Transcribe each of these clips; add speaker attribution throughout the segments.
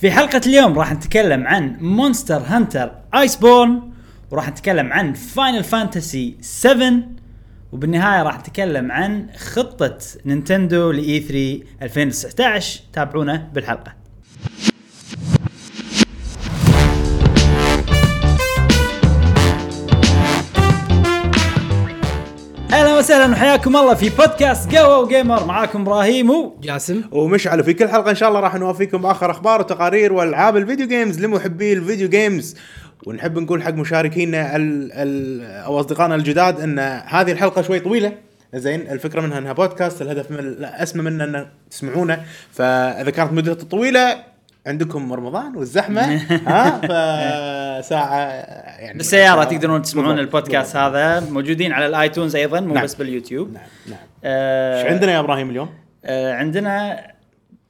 Speaker 1: في حلقة اليوم راح نتكلم عن مونستر هانتر ايس بورن وراح نتكلم عن فاينل فانتسي 7 وبالنهاية راح نتكلم عن خطة نينتندو E لإي 3 2019 تابعونا بالحلقة اهلا وسهلا وحياكم الله في بودكاست قهوه وجيمر معاكم ابراهيم و
Speaker 2: جاسم
Speaker 3: ومشعل وفي كل حلقه ان شاء الله راح نوافيكم باخر اخبار وتقارير والعاب الفيديو جيمز لمحبي الفيديو جيمز ونحب نقول حق مشاركينا ال ال او اصدقائنا الجداد ان هذه الحلقه شوي طويله زين الفكره منها انها بودكاست الهدف من الاسمى منه ان تسمعونه فاذا كانت مدته طويله عندكم رمضان والزحمه ها فساعه يعني
Speaker 1: بالسياره
Speaker 3: ساعة.
Speaker 1: تقدرون تسمعون
Speaker 3: بالضبط،
Speaker 1: البودكاست
Speaker 3: بالضبط.
Speaker 1: هذا موجودين على الايتونز ايضا مو
Speaker 3: نعم.
Speaker 1: بس باليوتيوب
Speaker 3: نعم نعم
Speaker 1: آه،
Speaker 3: ايش عندنا يا ابراهيم اليوم؟
Speaker 1: آه، عندنا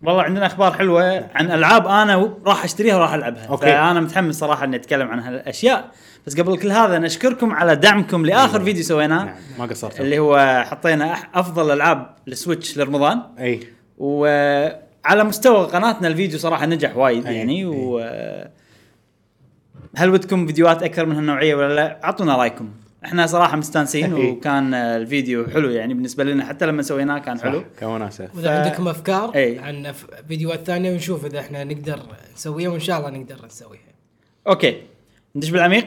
Speaker 1: والله عندنا اخبار حلوه عن العاب انا و- راح اشتريها وراح العبها
Speaker 3: أوكي.
Speaker 1: فانا متحمس صراحه اني اتكلم عن هالاشياء بس قبل كل هذا نشكركم على دعمكم لاخر فيديو سويناه
Speaker 3: نعم ما قصرت
Speaker 1: اللي هو حطينا أح- افضل العاب السويتش لرمضان
Speaker 3: اي
Speaker 1: وعلى مستوى قناتنا الفيديو صراحه نجح وايد
Speaker 3: أي،
Speaker 1: يعني
Speaker 3: أي.
Speaker 1: و هل ودكم فيديوهات اكثر من هالنوعيه ولا لا؟ اعطونا رايكم. احنا صراحه مستانسين
Speaker 3: أي.
Speaker 1: وكان الفيديو حلو يعني بالنسبه لنا حتى لما سويناه كان حلو.
Speaker 3: حلو كان وناسه
Speaker 1: ف-
Speaker 2: واذا عندكم افكار
Speaker 1: إي.
Speaker 2: عن أف- فيديوهات ثانيه ونشوف اذا احنا نقدر نسويها وان شاء الله نقدر نسويها
Speaker 1: اوكي ندش بالعميق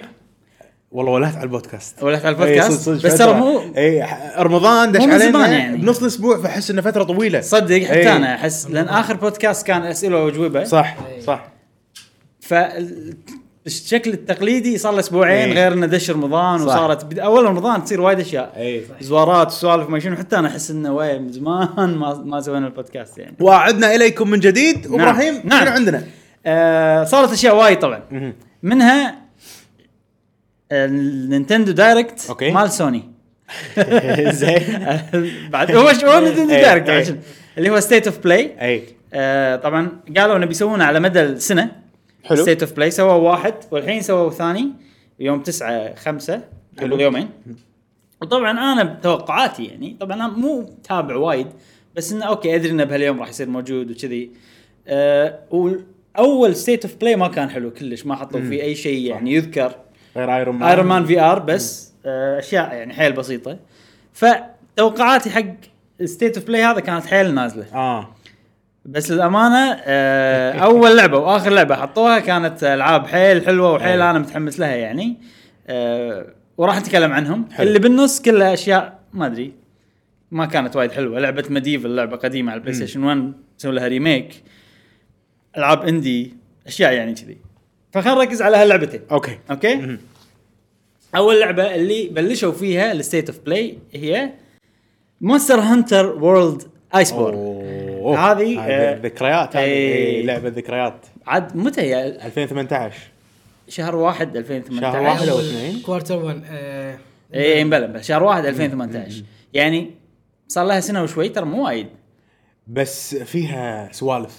Speaker 3: والله ولهت على البودكاست
Speaker 1: ولهت على
Speaker 3: إيه،
Speaker 1: البودكاست؟
Speaker 3: صدق- صدق
Speaker 1: بس
Speaker 3: فترة.
Speaker 1: ترى مو-
Speaker 3: اي ح- رمضان دش
Speaker 1: مو من زمان
Speaker 3: علينا
Speaker 1: يعني.
Speaker 3: يعني. بنص الاسبوع فاحس انه فتره طويله
Speaker 1: صدق حتى
Speaker 3: إيه.
Speaker 1: انا احس لان اخر بودكاست كان اسئله واجوبه
Speaker 3: صح
Speaker 2: إيه.
Speaker 3: صح
Speaker 1: فالشكل التقليدي صار له اسبوعين
Speaker 3: إيه.
Speaker 1: غير انه دش رمضان
Speaker 3: صح.
Speaker 1: وصارت بد- اول رمضان تصير وايد اشياء
Speaker 3: اي
Speaker 1: زوارات وسوالف ما شنو حتى انا احس انه وي من زمان ما ما سوينا البودكاست يعني
Speaker 3: وعدنا اليكم من جديد وابراهيم
Speaker 1: نعم.
Speaker 3: شنو عندنا؟
Speaker 1: آه صارت اشياء وايد طبعا
Speaker 3: مهم.
Speaker 1: منها النينتندو دايركت
Speaker 3: أوكي.
Speaker 1: مال سوني
Speaker 3: زين
Speaker 1: بعد هو شو هو نينتندو
Speaker 3: إيه،
Speaker 1: دايركت
Speaker 3: إيه.
Speaker 1: عشان- اللي هو ستيت اوف بلاي
Speaker 3: اي
Speaker 1: طبعا آه، قالوا انه بيسوونه على مدى السنه
Speaker 3: حلو.
Speaker 1: ستيت اوف بلاي سووا واحد والحين سووا ثاني يوم 9 5
Speaker 3: حلو.
Speaker 1: قبل يومين وطبعا انا بتوقعاتي يعني طبعا انا مو تابع وايد بس انه اوكي ادري انه بهاليوم راح يصير موجود وكذي أه واول ستيت اوف بلاي ما كان حلو كلش ما حطوا فيه اي شيء يعني يذكر
Speaker 3: غير ايرون مان
Speaker 1: ايرون مان في ار بس آه، اشياء يعني حيل بسيطه فتوقعاتي حق ستيت اوف بلاي هذا كانت حيل نازله
Speaker 3: اه
Speaker 1: بس للامانه آه، اول لعبه واخر لعبه حطوها كانت العاب حيل حلوه وحيل
Speaker 3: أي.
Speaker 1: انا متحمس لها يعني آه، وراح نتكلم عنهم
Speaker 3: حلو.
Speaker 1: اللي بالنص كلها اشياء ما ادري ما كانت وايد حلوه لعبه مديفل لعبه قديمه على البلاي ستيشن 1 سووا لها ريميك العاب اندي اشياء يعني كذي فخلينا نركز على هاللعبتين
Speaker 3: اوكي
Speaker 1: اوكي
Speaker 3: مهم.
Speaker 1: اول لعبه اللي بلشوا فيها الستيت اوف بلاي هي مونستر هانتر وورلد ايس بورن
Speaker 3: أوه.
Speaker 1: هذه، آه،
Speaker 3: ذكريات هذه
Speaker 1: إيه.
Speaker 3: إيه، لعبه ذكريات
Speaker 1: عاد متى هي
Speaker 3: 2018
Speaker 1: شهر 1 2018
Speaker 3: شهر واحد أو
Speaker 2: أول
Speaker 3: اثنين؟
Speaker 2: كوارتر 1 آه
Speaker 1: اي امبلا امبلا. إيه، شهر 1 2018 يعني صار لها سنه وشوي ترى مو وايد
Speaker 3: بس فيها سوالف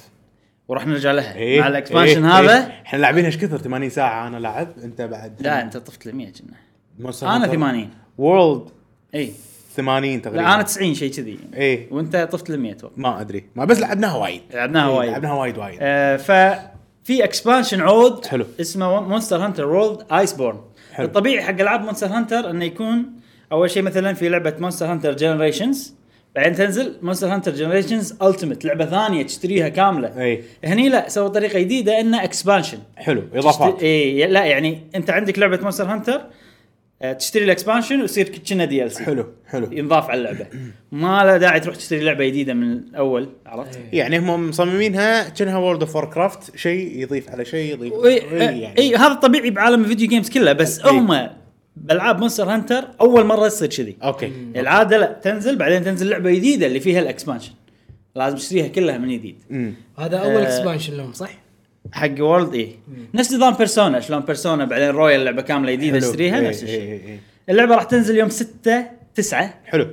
Speaker 1: وراح نرجع لها
Speaker 3: إيه،
Speaker 1: مع الاكسبانشن
Speaker 3: إيه،
Speaker 1: هذا
Speaker 3: إيه. احنا لاعبين ايش كثر 80 ساعه انا لعب انت بعد
Speaker 1: لا انت طفت ل 100 كنا
Speaker 3: Monster
Speaker 1: انا
Speaker 3: Hunter
Speaker 1: 80
Speaker 3: وورلد
Speaker 1: اي
Speaker 3: 80 تقريبا
Speaker 1: لا انا 90 شيء كذي
Speaker 3: إيه.
Speaker 1: وانت طفت ل 100 اتوقع
Speaker 3: ما ادري ما بس لعبناها وايد
Speaker 1: لعبناها
Speaker 3: إيه،
Speaker 1: وايد.
Speaker 3: لعبناها وايد وايد
Speaker 1: آه، ففي اكسبانشن عود
Speaker 3: حلو.
Speaker 1: اسمه مونستر هانتر وورلد ايس بورن
Speaker 3: حلو.
Speaker 1: الطبيعي حق العاب مونستر هانتر انه يكون اول شيء مثلا في لعبه مونستر هانتر جنريشنز بعدين تنزل مونستر هانتر جنريشنز التيمت لعبه ثانيه تشتريها كامله
Speaker 3: اي
Speaker 1: هني لا سووا طريقه جديده انه اكسبانشن
Speaker 3: حلو اضافات
Speaker 1: اي لا يعني انت عندك لعبه مونستر هانتر آه، تشتري الاكسبانشن ويصير كنا دي ال سي
Speaker 3: حلو حلو
Speaker 1: ينضاف على اللعبه ما له داعي تروح تشتري لعبه جديده من الاول عرفت؟
Speaker 3: يعني هم مصممينها كأنها وورد اوف كرافت شيء يضيف على شيء يضيف
Speaker 1: اي
Speaker 3: إي،
Speaker 1: يعني إيه. اي هذا طبيعي بعالم الفيديو جيمز كله بس
Speaker 3: إي.
Speaker 1: هم بالعاب مونستر هانتر اول مره يصير كذي
Speaker 3: اوكي
Speaker 1: العاده لا تنزل بعدين تنزل لعبه جديده اللي فيها الاكسبانشن لازم تشتريها كلها من جديد
Speaker 3: امم
Speaker 2: هذا اول
Speaker 1: آه.
Speaker 2: اكسبانشن لهم صح؟
Speaker 1: حق وورلد اي نفس نظام بيرسونا شلون بيرسونا بعدين رويال لعبه كامله جديده
Speaker 3: حلو. إيه،
Speaker 1: تشتريها
Speaker 3: إي،
Speaker 1: نفس
Speaker 3: إي،
Speaker 1: الشيء
Speaker 3: إي، إي.
Speaker 1: اللعبه راح تنزل يوم 6 9
Speaker 3: حلو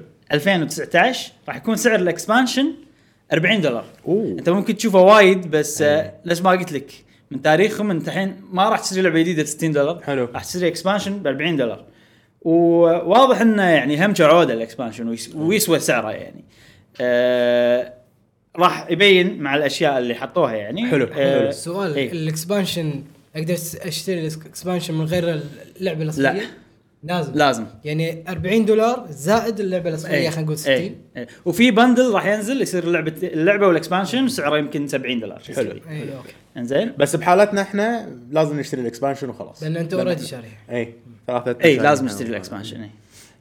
Speaker 1: 2019 راح يكون سعر الاكسبانشن 40 دولار
Speaker 3: اوه
Speaker 1: انت ممكن تشوفه وايد بس آه، ليش ما قلت لك من تاريخهم انت الحين ما راح تشتري لعبه جديده ب 60 دولار
Speaker 3: حلو.
Speaker 1: راح تشتري اكسبانشن ب 40 دولار وواضح انه يعني هم عوده الاكسبانشن ويس- ويسوى سعره يعني آه راح يبين مع الاشياء اللي حطوها يعني
Speaker 3: حلو، حلو.
Speaker 1: آه،
Speaker 2: السؤال
Speaker 1: إيه.
Speaker 2: الاكسبانشن اقدر أس- اشتري الاكسبانشن من غير اللعبه الاصليه؟
Speaker 1: لا.
Speaker 2: لازم
Speaker 1: لازم
Speaker 2: يعني 40 دولار زائد اللعبه الاصليه
Speaker 1: إيه،
Speaker 2: خلينا نقول
Speaker 1: إيه،
Speaker 2: 60
Speaker 1: إيه. وفي بندل راح ينزل يصير لعبه اللعبه والاكسبانشن سعره يمكن 70 دولار شيء
Speaker 3: حلو.
Speaker 1: كذي.
Speaker 2: اي اوكي
Speaker 1: انزين
Speaker 3: بس بحالتنا احنا لازم نشتري الاكسبانشن وخلاص
Speaker 2: لان انت
Speaker 1: لما-
Speaker 2: اوريدي شاريها
Speaker 3: اي ثلاثة
Speaker 1: اي إيه، لازم نشتري الاكسبانشن اي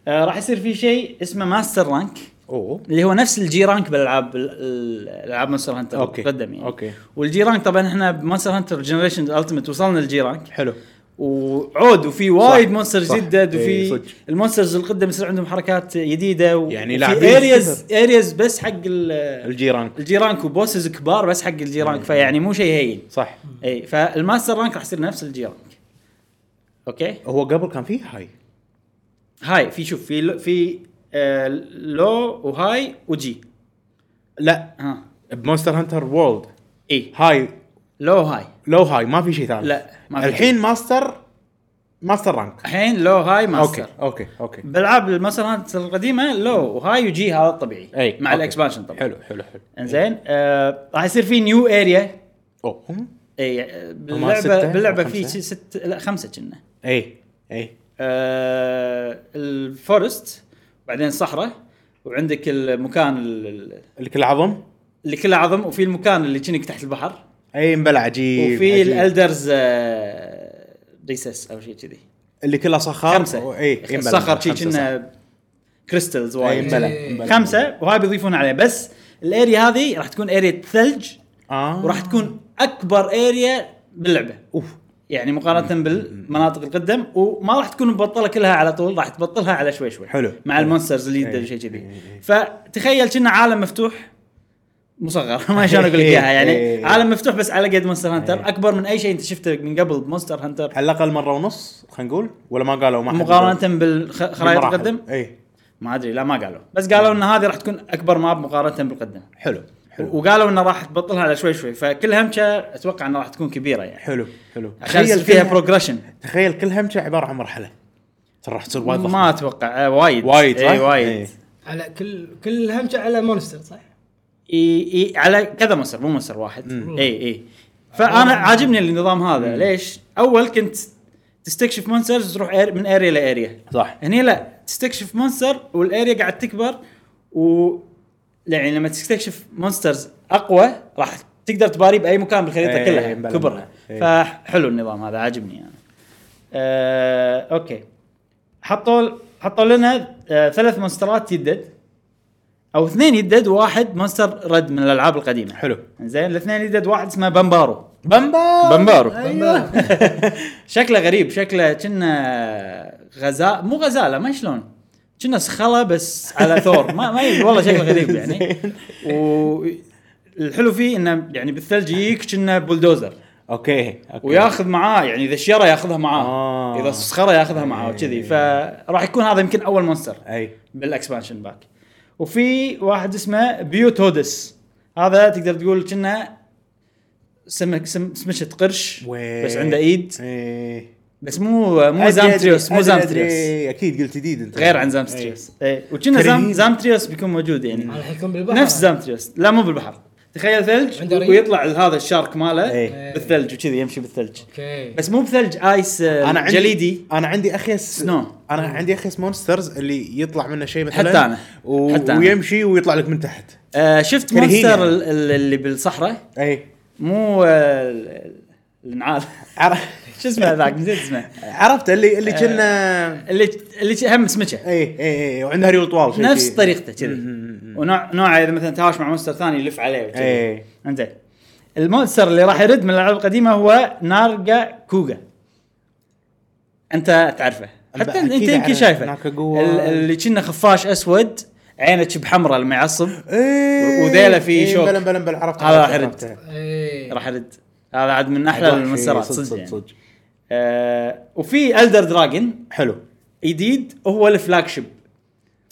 Speaker 1: آه، راح يصير في شيء اسمه ماستر رانك
Speaker 3: اوه
Speaker 1: اللي هو نفس الجي رانك بالالعاب ال- ال- الالعاب مونستر هانتر
Speaker 3: أوكي.
Speaker 1: قدم يعني
Speaker 3: أوكي.
Speaker 1: والجي رانك طبعا احنا بمونستر هانتر جنريشن التيمت وصلنا للجي رانك
Speaker 3: حلو
Speaker 1: وعود وفي وايد مونستر
Speaker 3: صح.
Speaker 1: جدد وفي
Speaker 3: إيه، صدق.
Speaker 1: المونسترز القدم يصير عندهم حركات جديده و...
Speaker 3: يعني
Speaker 1: في
Speaker 3: لاعبين
Speaker 1: اريز اريز بس حق ال-
Speaker 3: الجيران
Speaker 1: الجيرانك وبوسز كبار بس حق الجيرانك فيعني مو شيء هين
Speaker 3: صح
Speaker 1: اي فالماستر رانك راح يصير نفس الجيرانك اوكي
Speaker 3: هو قبل كان فيه هاي
Speaker 1: هاي في شوف في في آه لو وهاي وجي
Speaker 3: لا
Speaker 1: ها
Speaker 3: بمونستر هانتر وورلد
Speaker 1: اي
Speaker 3: هاي
Speaker 1: لو هاي
Speaker 3: لو هاي ما في شيء ثاني
Speaker 1: لا، ما في
Speaker 3: الحين ماستر ماستر رانك
Speaker 1: الحين لو هاي ماستر
Speaker 3: اوكي
Speaker 1: اوكي
Speaker 3: اوكي اوكي
Speaker 1: بالالعاب الماستر هانتر القديمه لو وهاي وجي هذا الطبيعي
Speaker 3: اي
Speaker 1: مع
Speaker 3: أوكي.
Speaker 1: الاكسبانشن طبعا
Speaker 3: حلو حلو حلو
Speaker 1: انزين آه راح يصير في نيو اريا
Speaker 3: اوه هم؟
Speaker 1: اي آه،
Speaker 3: ستة
Speaker 1: باللعبه باللعبه
Speaker 3: أو
Speaker 1: في
Speaker 3: خمسة؟
Speaker 1: ست لا خمسه كنا
Speaker 3: اي اي
Speaker 1: آه الفورست بعدين الصحراء وعندك المكان ال- ال-
Speaker 3: لك العظم
Speaker 1: اللي كله عظم وفي المكان اللي كنك تحت البحر
Speaker 3: اي مبلع عجيب
Speaker 1: وفي
Speaker 3: عجيب.
Speaker 1: الالدرز آه، ريسس او شيء كذي
Speaker 3: اللي كله صخر
Speaker 1: خمسه
Speaker 3: اي مبلع.
Speaker 1: صخر شيء
Speaker 3: إيه، خمسة، صح.
Speaker 1: كنا كريستلز
Speaker 3: اي
Speaker 1: وايد
Speaker 3: مبلع
Speaker 2: إيه.
Speaker 3: مبلع.
Speaker 1: خمسه وهاي بيضيفون عليه بس الاريا هذه راح تكون اريا ثلج
Speaker 3: اه
Speaker 1: وراح تكون اكبر اريا باللعبه
Speaker 3: اوف
Speaker 1: يعني مقارنه بالمناطق القدم وما راح تكون مبطله كلها على طول راح تبطلها على شوي شوي
Speaker 3: حلو.
Speaker 1: مع المونسترز اللي يدد
Speaker 3: إيه.
Speaker 1: وشي كذي
Speaker 3: إيه.
Speaker 1: فتخيل كنا عالم مفتوح مصغر ما شلون اقول لك اياها يعني
Speaker 3: إيه.
Speaker 1: عالم مفتوح بس على قد مونستر هانتر
Speaker 3: إيه.
Speaker 1: اكبر من اي شيء انت شفته من قبل مونستر هانتر
Speaker 3: على الاقل مره ونص خلينا نقول ولا ما قالوا ما حد
Speaker 1: مقارنه بالخرائط
Speaker 3: بالمراحل.
Speaker 1: القدم
Speaker 3: اي
Speaker 1: ما ادري لا ما قالوا بس قالوا ان هذه راح تكون اكبر ماب مقارنه بالقدم
Speaker 3: حلو حلو
Speaker 1: وقالوا انه راح تبطلها على شوي شوي فكل همشه اتوقع انها راح تكون كبيره يعني
Speaker 3: حلو حلو
Speaker 1: عشان يصير فيها
Speaker 3: كل-
Speaker 1: بروجريشن
Speaker 3: تخيل كل همشه عباره عن مرحله ترى راح تصير وايد
Speaker 1: ما
Speaker 3: ضخمة.
Speaker 1: اتوقع آه، وايد
Speaker 3: وايد
Speaker 1: اي
Speaker 3: صح؟
Speaker 1: وايد
Speaker 3: إيه.
Speaker 2: على كل كل همشه على مونستر صح؟
Speaker 1: إي إي على كذا مصر مو مصر واحد
Speaker 3: مم. آه.
Speaker 1: اي اي فانا عاجبني النظام هذا ليش؟ اول كنت تستكشف مونسترز تروح أير- من اريا لاريا
Speaker 3: صح
Speaker 1: هني لا تستكشف مونستر والاريا قاعد تكبر و يعني لما تستكشف مونسترز اقوى راح تقدر تباري باي مكان بالخريطه
Speaker 3: إيه،
Speaker 1: كلها
Speaker 3: بلى،
Speaker 1: كبرها
Speaker 3: بلى.
Speaker 1: فحلو النظام هذا عاجبني انا. آه، اوكي حطوا حطوا لنا آه، ثلاث مونسترات يدد او اثنين يدد وواحد مونستر رد من الالعاب القديمه
Speaker 3: حلو.
Speaker 1: زين الاثنين يدد واحد اسمه بامبارو
Speaker 3: بمبا
Speaker 1: بمبارو
Speaker 2: أيوة.
Speaker 1: شكله غريب شكله كنا غزاء مو غزاله ما شلون كنا صخله بس على ثور ما ما يدري، والله شكله غريب يعني والحلو فيه انه يعني بالثلج يجيك كنا بولدوزر
Speaker 3: اوكي اوكي
Speaker 1: وياخذ معاه يعني اذا الشيره ياخذها معاه
Speaker 3: آه.
Speaker 1: اذا الصخره ياخذها معاه وكذي فراح يكون هذا يمكن اول مونستر
Speaker 3: اي
Speaker 1: بالاكسبانشن باك وفي واحد اسمه بيوتودس هذا تقدر تقول كنا سمك سم سمشة قرش
Speaker 3: وي.
Speaker 1: بس عنده ايد
Speaker 3: اي
Speaker 1: بس مو مو زامتريوس مو زامتريوس
Speaker 3: اكيد قلت جديد انت
Speaker 1: غير عن زامتريوس اي وكنا
Speaker 3: إيه. كريم.
Speaker 1: زام زامتريوس بيكون موجود يعني
Speaker 2: راح يكون بالبحر
Speaker 1: نفس زامتريوس لا مو بالبحر تخيل ثلج
Speaker 2: عنده ريم.
Speaker 1: ويطلع هذا الشارك ماله
Speaker 3: إيه.
Speaker 1: بالثلج وكذي يمشي بالثلج
Speaker 2: اوكي
Speaker 1: بس مو بثلج ايس آه،
Speaker 3: انا عندي
Speaker 1: جليدي
Speaker 3: انا عندي اخيس
Speaker 1: Snow.
Speaker 3: انا عندي اخيس مونسترز اللي يطلع منه شيء مثلا
Speaker 1: حتى أنا.
Speaker 3: و...
Speaker 1: حتى أنا.
Speaker 3: ويمشي ويطلع لك من تحت
Speaker 1: آه شفت
Speaker 3: كرهيني.
Speaker 1: مونستر ال- ال- اللي بالصحراء
Speaker 3: اي
Speaker 1: مو آه، ال- ال- النعال
Speaker 3: عر-
Speaker 1: شو اسمه ذاك نسيت اسمه
Speaker 3: عرفت اللي اللي كنا
Speaker 1: اللي اللي هم سمكه
Speaker 3: اي اي اي وعندها ريول طوال شيء
Speaker 1: نفس
Speaker 3: كذي.
Speaker 1: طريقته كذي
Speaker 3: مم.
Speaker 1: ونوع نوعه اذا مثلا تهاوش مع مونستر ثاني يلف عليه وكذي.
Speaker 3: إيه.
Speaker 1: انزين المونستر اللي راح يرد من الالعاب القديمه هو نارجا كوغا انت تعرفه
Speaker 3: أب-
Speaker 1: حتى انت
Speaker 3: أكيد
Speaker 1: يمكن
Speaker 3: أعرف.
Speaker 1: شايفه
Speaker 3: ناكاغوا.
Speaker 1: ال- اللي كنا خفاش اسود عينه بحمراء لما يعصب
Speaker 3: ايه
Speaker 1: وذيله في شوك.
Speaker 3: بلا بلا بلا عرفت
Speaker 1: هذا
Speaker 3: عرفت-
Speaker 1: راح
Speaker 3: عرفت.
Speaker 1: يرد.
Speaker 2: ايه
Speaker 1: راح يرد هذا عاد من احلى
Speaker 3: عرفت.
Speaker 1: المونسترات
Speaker 3: صدق-
Speaker 1: صدق
Speaker 3: صدق
Speaker 1: يعني.
Speaker 3: صدق.
Speaker 1: آه وفي الدر دراجون
Speaker 3: حلو
Speaker 1: جديد هو الفلاج شيب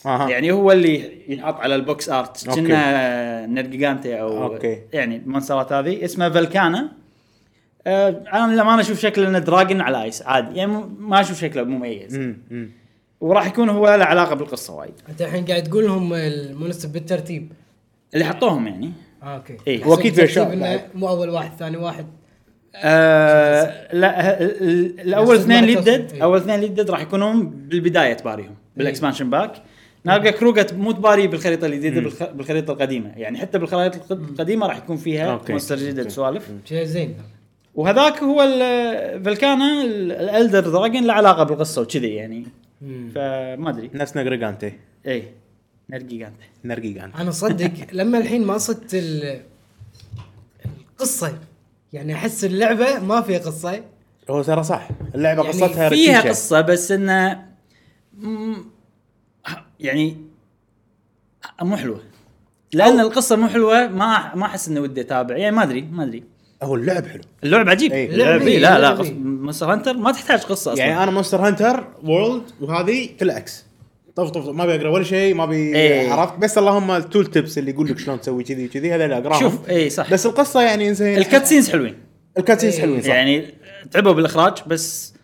Speaker 3: اها
Speaker 1: يعني هو اللي ينحط على البوكس ارت
Speaker 3: أوكي.
Speaker 1: كنا نرجيجانتي او
Speaker 3: أوكي.
Speaker 1: يعني المونسترات هذه اسمها فالكانا آه انا لما انا اشوف شكله انه دراجن على ايس عادي يعني مو- ما اشوف شكله مميز
Speaker 3: مم، مم.
Speaker 1: وراح يكون هو له علاقه بالقصه وايد
Speaker 2: انت الحين قاعد تقول لهم المونستر بالترتيب
Speaker 1: اللي حطوهم يعني
Speaker 2: آه، اوكي
Speaker 1: إيه.
Speaker 2: أحسن
Speaker 3: وأكيد في أشياء
Speaker 2: ترتيب إنه
Speaker 3: بعد.
Speaker 2: مو اول واحد ثاني واحد
Speaker 1: آه لا ه- ال- الاول
Speaker 2: نفس
Speaker 1: اثنين
Speaker 2: المركز.
Speaker 1: ليدد
Speaker 2: إيه.
Speaker 1: اول اثنين ليدد راح يكونون بالبدايه تباريهم بالاكسبانشن باك نالقى كروجا مو تباري بالخريطه الجديده بالخ- بالخريطه القديمه يعني حتى بالخرائط الق- القديمه راح يكون فيها
Speaker 3: أوكي.
Speaker 1: مونستر جديد
Speaker 3: أوكي.
Speaker 1: سوالف
Speaker 2: شيء زين
Speaker 1: وهذاك هو ال- فالكانا ال- الالدر دراجون له علاقه بالقصه وكذي يعني
Speaker 2: مم.
Speaker 1: فما ادري
Speaker 3: نفس نجريجانتي
Speaker 1: اي نرجي قانته
Speaker 3: نرجيجانتي
Speaker 2: انا صدق لما الحين ما صدت ال- القصه يعني احس اللعبه ما فيها قصه
Speaker 3: هو ترى صح اللعبه
Speaker 2: يعني
Speaker 3: قصتها
Speaker 1: فيها
Speaker 3: رتيشة.
Speaker 1: قصه بس انه مم، يعني مو حلوه لان القصه مو حلوه ما ما احس انه ودي اتابع يعني ما ادري ما ادري
Speaker 3: هو اللعب حلو
Speaker 1: اللعب عجيب
Speaker 3: إيه.
Speaker 1: اللعب
Speaker 2: لعبي،
Speaker 1: إيه، لا لا
Speaker 2: لعبي.
Speaker 1: قص- مونستر هانتر ما تحتاج قصه اصلا
Speaker 3: يعني انا مونستر هانتر وورلد وهذه بالعكس طف طف طف، ما ابي اقرا ولا شيء ما ابي
Speaker 1: إيه.
Speaker 3: عرفت بس اللهم التول تبس اللي يقول لك شلون تسوي كذي وكذي هذا اللي اقراهم
Speaker 1: شوف اي صح
Speaker 3: بس القصه يعني زين
Speaker 1: الكاتسينز حلوين
Speaker 3: الكاتسينز حلوين صح
Speaker 1: يعني تعبوا بالاخراج بس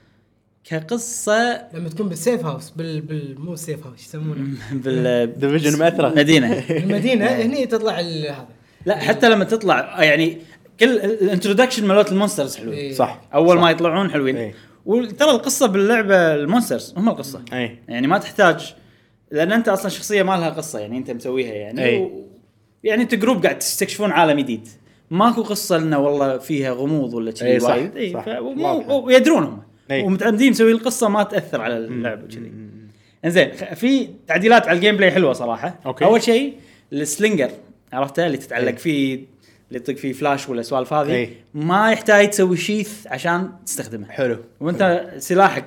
Speaker 1: كقصه
Speaker 2: لما تكون بالسيف هاوس بال, بال... مو سيف هاوس يسمونه
Speaker 1: بال
Speaker 3: Division مأثرة.
Speaker 1: مدينه
Speaker 2: المدينه هني تطلع ال- هذا
Speaker 1: لا حتى لما تطلع يعني كل الانترودكشن مالت المونسترز حلوين
Speaker 2: إيه.
Speaker 3: صح
Speaker 1: اول
Speaker 3: صح.
Speaker 1: ما يطلعون حلوين
Speaker 3: إيه.
Speaker 1: وترى القصه باللعبه المونسترز هم القصه
Speaker 3: اي
Speaker 1: يعني ما تحتاج لان انت اصلا شخصيه ما لها قصه يعني انت مسويها يعني
Speaker 3: إيه.
Speaker 1: و... يعني انت جروب قاعد تستكشفون عالم جديد ماكو قصه لنا والله فيها غموض ولا كذي
Speaker 3: إيه، صح،
Speaker 1: وايد إيه،
Speaker 3: صح.
Speaker 1: ف- ومو-
Speaker 3: واضحة.
Speaker 1: ويدرون هم
Speaker 3: إيه.
Speaker 1: ومتعمدين مسوي القصه ما تاثر على اللعب وكذي انزين خ- في تعديلات على الجيم بلاي حلوه صراحه
Speaker 3: أوكي.
Speaker 1: اول شيء السلينجر عرفته اللي تتعلق
Speaker 3: إيه.
Speaker 1: فيه اللي يطق فيه فلاش ولا سوالف هذه
Speaker 3: إيه.
Speaker 1: ما يحتاج تسوي شيث عشان تستخدمه
Speaker 3: حلو
Speaker 1: وانت سلاحك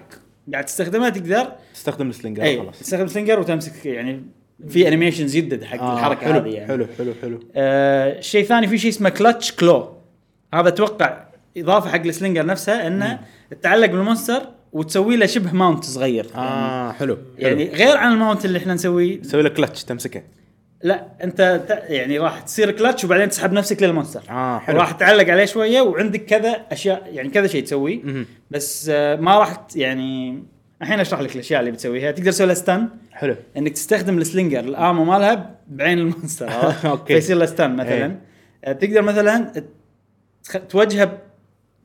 Speaker 1: قاعد تستخدمه تقدر
Speaker 3: تستخدم السلنجر
Speaker 1: اي
Speaker 3: خلاص
Speaker 1: إيه، تستخدم سلينجر وتمسك يعني في انيميشنز يدد حق
Speaker 3: آه،
Speaker 1: الحركه
Speaker 3: حلو
Speaker 1: هذه يعني
Speaker 3: حلو حلو حلو
Speaker 1: آه شيء ثاني في شيء اسمه كلتش كلو هذا اتوقع اضافه حق السلينجر نفسها انه تعلق بالمونستر وتسوي له شبه ماونت صغير
Speaker 3: اه حلو
Speaker 1: يعني
Speaker 3: يعني
Speaker 1: غير عن الماونت اللي احنا نسويه
Speaker 3: تسوي له كلتش تمسكه
Speaker 1: لا انت ت- يعني راح تصير كلتش وبعدين تسحب نفسك للمونستر
Speaker 3: آه، حلو.
Speaker 1: راح تعلق عليه شويه وعندك كذا اشياء يعني كذا شيء تسويه
Speaker 3: مهم.
Speaker 1: بس آه ما راح ت- يعني الحين اشرح لك الاشياء اللي بتسويها تقدر تسوي له ستان
Speaker 3: حلو
Speaker 1: انك تستخدم السلينجر الامو مالها بعين المونستر عرفت؟
Speaker 3: آه، أوكي. إيه.
Speaker 1: فيصير له ستان مثلا آه، تقدر مثلا تخ- توجهه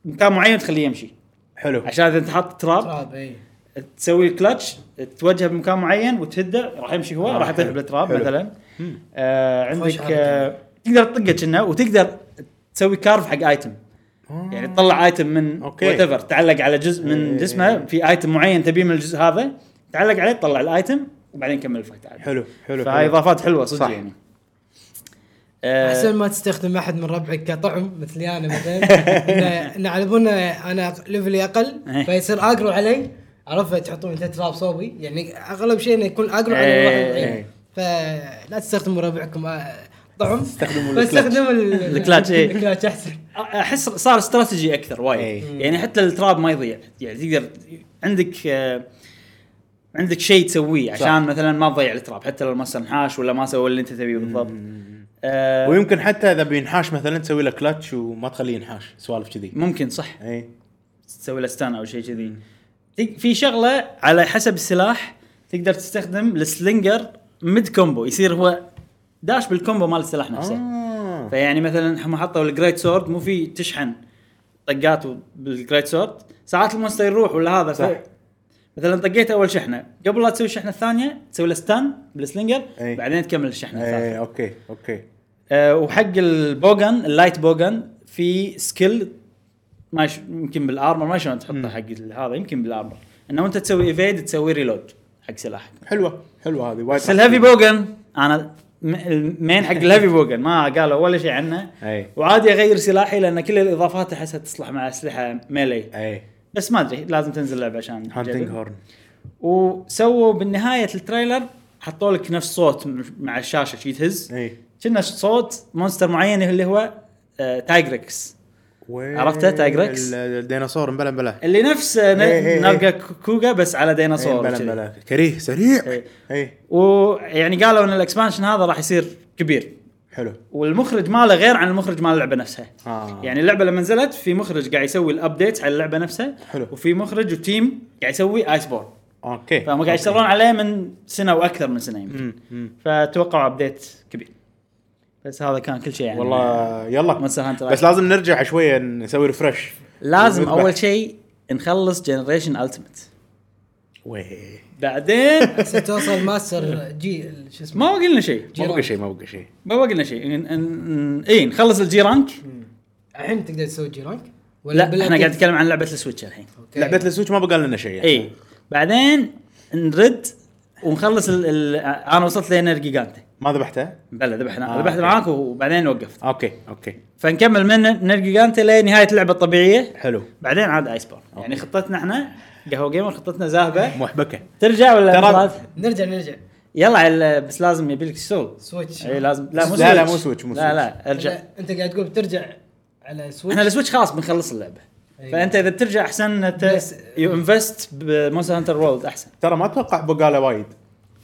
Speaker 1: بمكان معين تخليه يمشي
Speaker 3: حلو
Speaker 1: عشان اذا انت حاط تراب
Speaker 2: تراب إيه. اي
Speaker 1: تسوي كلتش توجهه بمكان معين وتهده راح يمشي هو
Speaker 3: آه،
Speaker 1: راح يطيح
Speaker 3: حلو.
Speaker 1: بالتراب
Speaker 3: حلو.
Speaker 1: مثلا آه
Speaker 2: خوش
Speaker 1: عندك
Speaker 2: حركة.
Speaker 1: آه تقدر تطقه كنا وتقدر تسوي كارف حق ايتم يعني تطلع ايتم من
Speaker 3: أوكي.
Speaker 1: وات ايفر تعلق على جزء من
Speaker 3: إيه.
Speaker 1: جسمه في ايتم معين تبيه من الجزء هذا تعلق عليه تطلع الايتم وبعدين كمل الفايت عادي
Speaker 3: حلو حلو
Speaker 1: فهاي اضافات حلوه صدق
Speaker 3: صح.
Speaker 1: يعني
Speaker 2: احسن
Speaker 1: آه
Speaker 2: ما تستخدم احد من ربعك كطعم مثلي انا مثلا إن- ان على بالنا انا ليفلي
Speaker 1: إيه.
Speaker 2: اقل فيصير اقرو علي عرفت تحطون انت تراب صوبي يعني اغلب شيء انه يكون اقرو على الواحد
Speaker 1: إيه.
Speaker 2: بعيد. فلا تستخدموا ربعكم آه، طعم
Speaker 3: استخدموا الكلاتش.
Speaker 2: فاستخدموا ال-
Speaker 1: الكلاتش، إيه.
Speaker 2: الكلاتش احسن
Speaker 1: احس صار استراتيجي اكثر وايد
Speaker 3: إيه.
Speaker 1: يعني حتى التراب ما يضيع يعني تقدر عندك آه عندك شيء تسويه
Speaker 3: صح.
Speaker 1: عشان مثلا ما تضيع التراب حتى لو ما صار نحاش ولا ما سوى اللي انت تبيه بالضبط آه
Speaker 3: ويمكن حتى اذا بينحاش مثلا تسوي له كلتش وما تخليه ينحاش سوالف كذي إيه؟
Speaker 1: ممكن صح
Speaker 3: اي
Speaker 1: تسوي له ستان او شيء كذي تق- في شغله على حسب السلاح تقدر تستخدم السلينجر ميد كومبو يصير هو داش بالكومبو مال السلاح نفسه
Speaker 3: آه.
Speaker 1: فيعني مثلا هم حطوا الجريت سورد مو في تشحن طقات بالجريت سورد ساعات المونستر يروح ولا هذا
Speaker 3: صح.
Speaker 1: صح. مثلا طقيت اول شحنه قبل لا تسوي الشحنه الثانيه تسوي له ستان بالسلنجر
Speaker 3: أي.
Speaker 1: بعدين تكمل الشحنه الثالثه
Speaker 3: اي اوكي اوكي
Speaker 1: أه وحق البوغن اللايت بوغن في سكيل ما ش... يمكن بالارمر ما شلون تحطه حق ال- هذا يمكن بالارمر انه وانت تسوي ايفيد تسوي ريلود حق سلاحك
Speaker 3: حلوه حلوه هذه وايد
Speaker 1: بس الهيفي بوغن انا م- المين حق الهيفي بوغن ما قالوا ولا شيء عنه
Speaker 3: اي
Speaker 1: وعادي اغير سلاحي لان كل الاضافات احسها تصلح مع اسلحه ميلي
Speaker 3: اي
Speaker 1: بس ما ادري لازم تنزل اللعبه عشان
Speaker 3: هانتنج
Speaker 1: تجرب.
Speaker 3: هورن
Speaker 1: وسووا بالنهايه التريلر حطوا لك نفس صوت م- مع الشاشه شي تهز
Speaker 3: اي
Speaker 1: كنا صوت مونستر معين اللي هو آه تايجركس عرفته؟ تايجركس؟
Speaker 3: الديناصور مبلا مبلا
Speaker 1: اللي نفس آه، ن-
Speaker 3: إيه، إيه،
Speaker 1: نلقى كو- كوغا بس على
Speaker 3: إيه،
Speaker 1: ديناصور
Speaker 3: مبلا
Speaker 1: وشذي.
Speaker 3: مبلا كريه سريع
Speaker 1: إيه.
Speaker 3: اي
Speaker 1: ويعني يعني قالوا ان الاكسبانشن هذا راح يصير كبير
Speaker 3: حلو
Speaker 1: والمخرج ماله غير عن المخرج مال اللعبه نفسها
Speaker 3: آه.
Speaker 1: يعني اللعبه لما نزلت في مخرج قاعد يسوي الابديت على اللعبه نفسها
Speaker 3: حلو.
Speaker 1: وفي مخرج وتيم قاعد يسوي ايس بورن
Speaker 3: اوكي
Speaker 1: فهم قاعد يشتغلون عليه من سنه واكثر من سنه يمكن
Speaker 3: أمم، أمم.
Speaker 1: فتوقعوا ابديت كبير بس هذا كان كل شيء يعني
Speaker 3: والله يلا
Speaker 1: مونستر هانتر
Speaker 3: بس لازم نرجع شويه نسوي ريفرش
Speaker 1: لازم اول شيء نخلص جنريشن التيمت
Speaker 3: ويه
Speaker 1: بعدين
Speaker 2: بس توصل ماستر جي شو اسمه
Speaker 1: ما قلنا شيء
Speaker 3: ما بقى شيء ما بقى شيء
Speaker 1: ما قلنا شيء ن- ن- اي نخلص الجي رانك
Speaker 2: الحين تقدر تسوي جي رانك
Speaker 1: لا احنا قاعد نتكلم عن لعبه السويتش الحين
Speaker 3: لعبه السويتش ما بقى لنا شيء يعني.
Speaker 1: اي بعدين نرد ونخلص ال ال انا وصلت لين جيجانتي
Speaker 3: ما ذبحته؟
Speaker 1: بلا ذبحنا
Speaker 3: آه،
Speaker 1: ذبحت
Speaker 3: أوكي.
Speaker 1: معاك وبعدين وقفت
Speaker 3: اوكي اوكي
Speaker 1: فنكمل من نرجيجانتي لنهايه اللعبه الطبيعيه
Speaker 3: حلو
Speaker 1: بعدين عاد ايس بورن يعني خطتنا احنا قهوه جيمر خطتنا زاهبه
Speaker 3: محبكه
Speaker 1: ترجع ولا
Speaker 3: ترى-
Speaker 1: مراد؟
Speaker 2: نرجع نرجع
Speaker 1: يلا على- بس لازم يبيلك سول
Speaker 2: سويتش
Speaker 1: اي إيه، لازم لا مو
Speaker 3: لا، لا،
Speaker 1: سويتش.
Speaker 3: مو سويتش، مو
Speaker 1: لا لا ارجع
Speaker 2: أنت- انت قاعد تقول بترجع على سويتش
Speaker 1: احنا السويتش خلاص بنخلص اللعبه
Speaker 2: أيوة.
Speaker 1: فانت اذا بترجع احسن انت
Speaker 2: بس-
Speaker 1: يو انفست بمونستر هانتر وورلد احسن
Speaker 3: ترى ما اتوقع بقى له وايد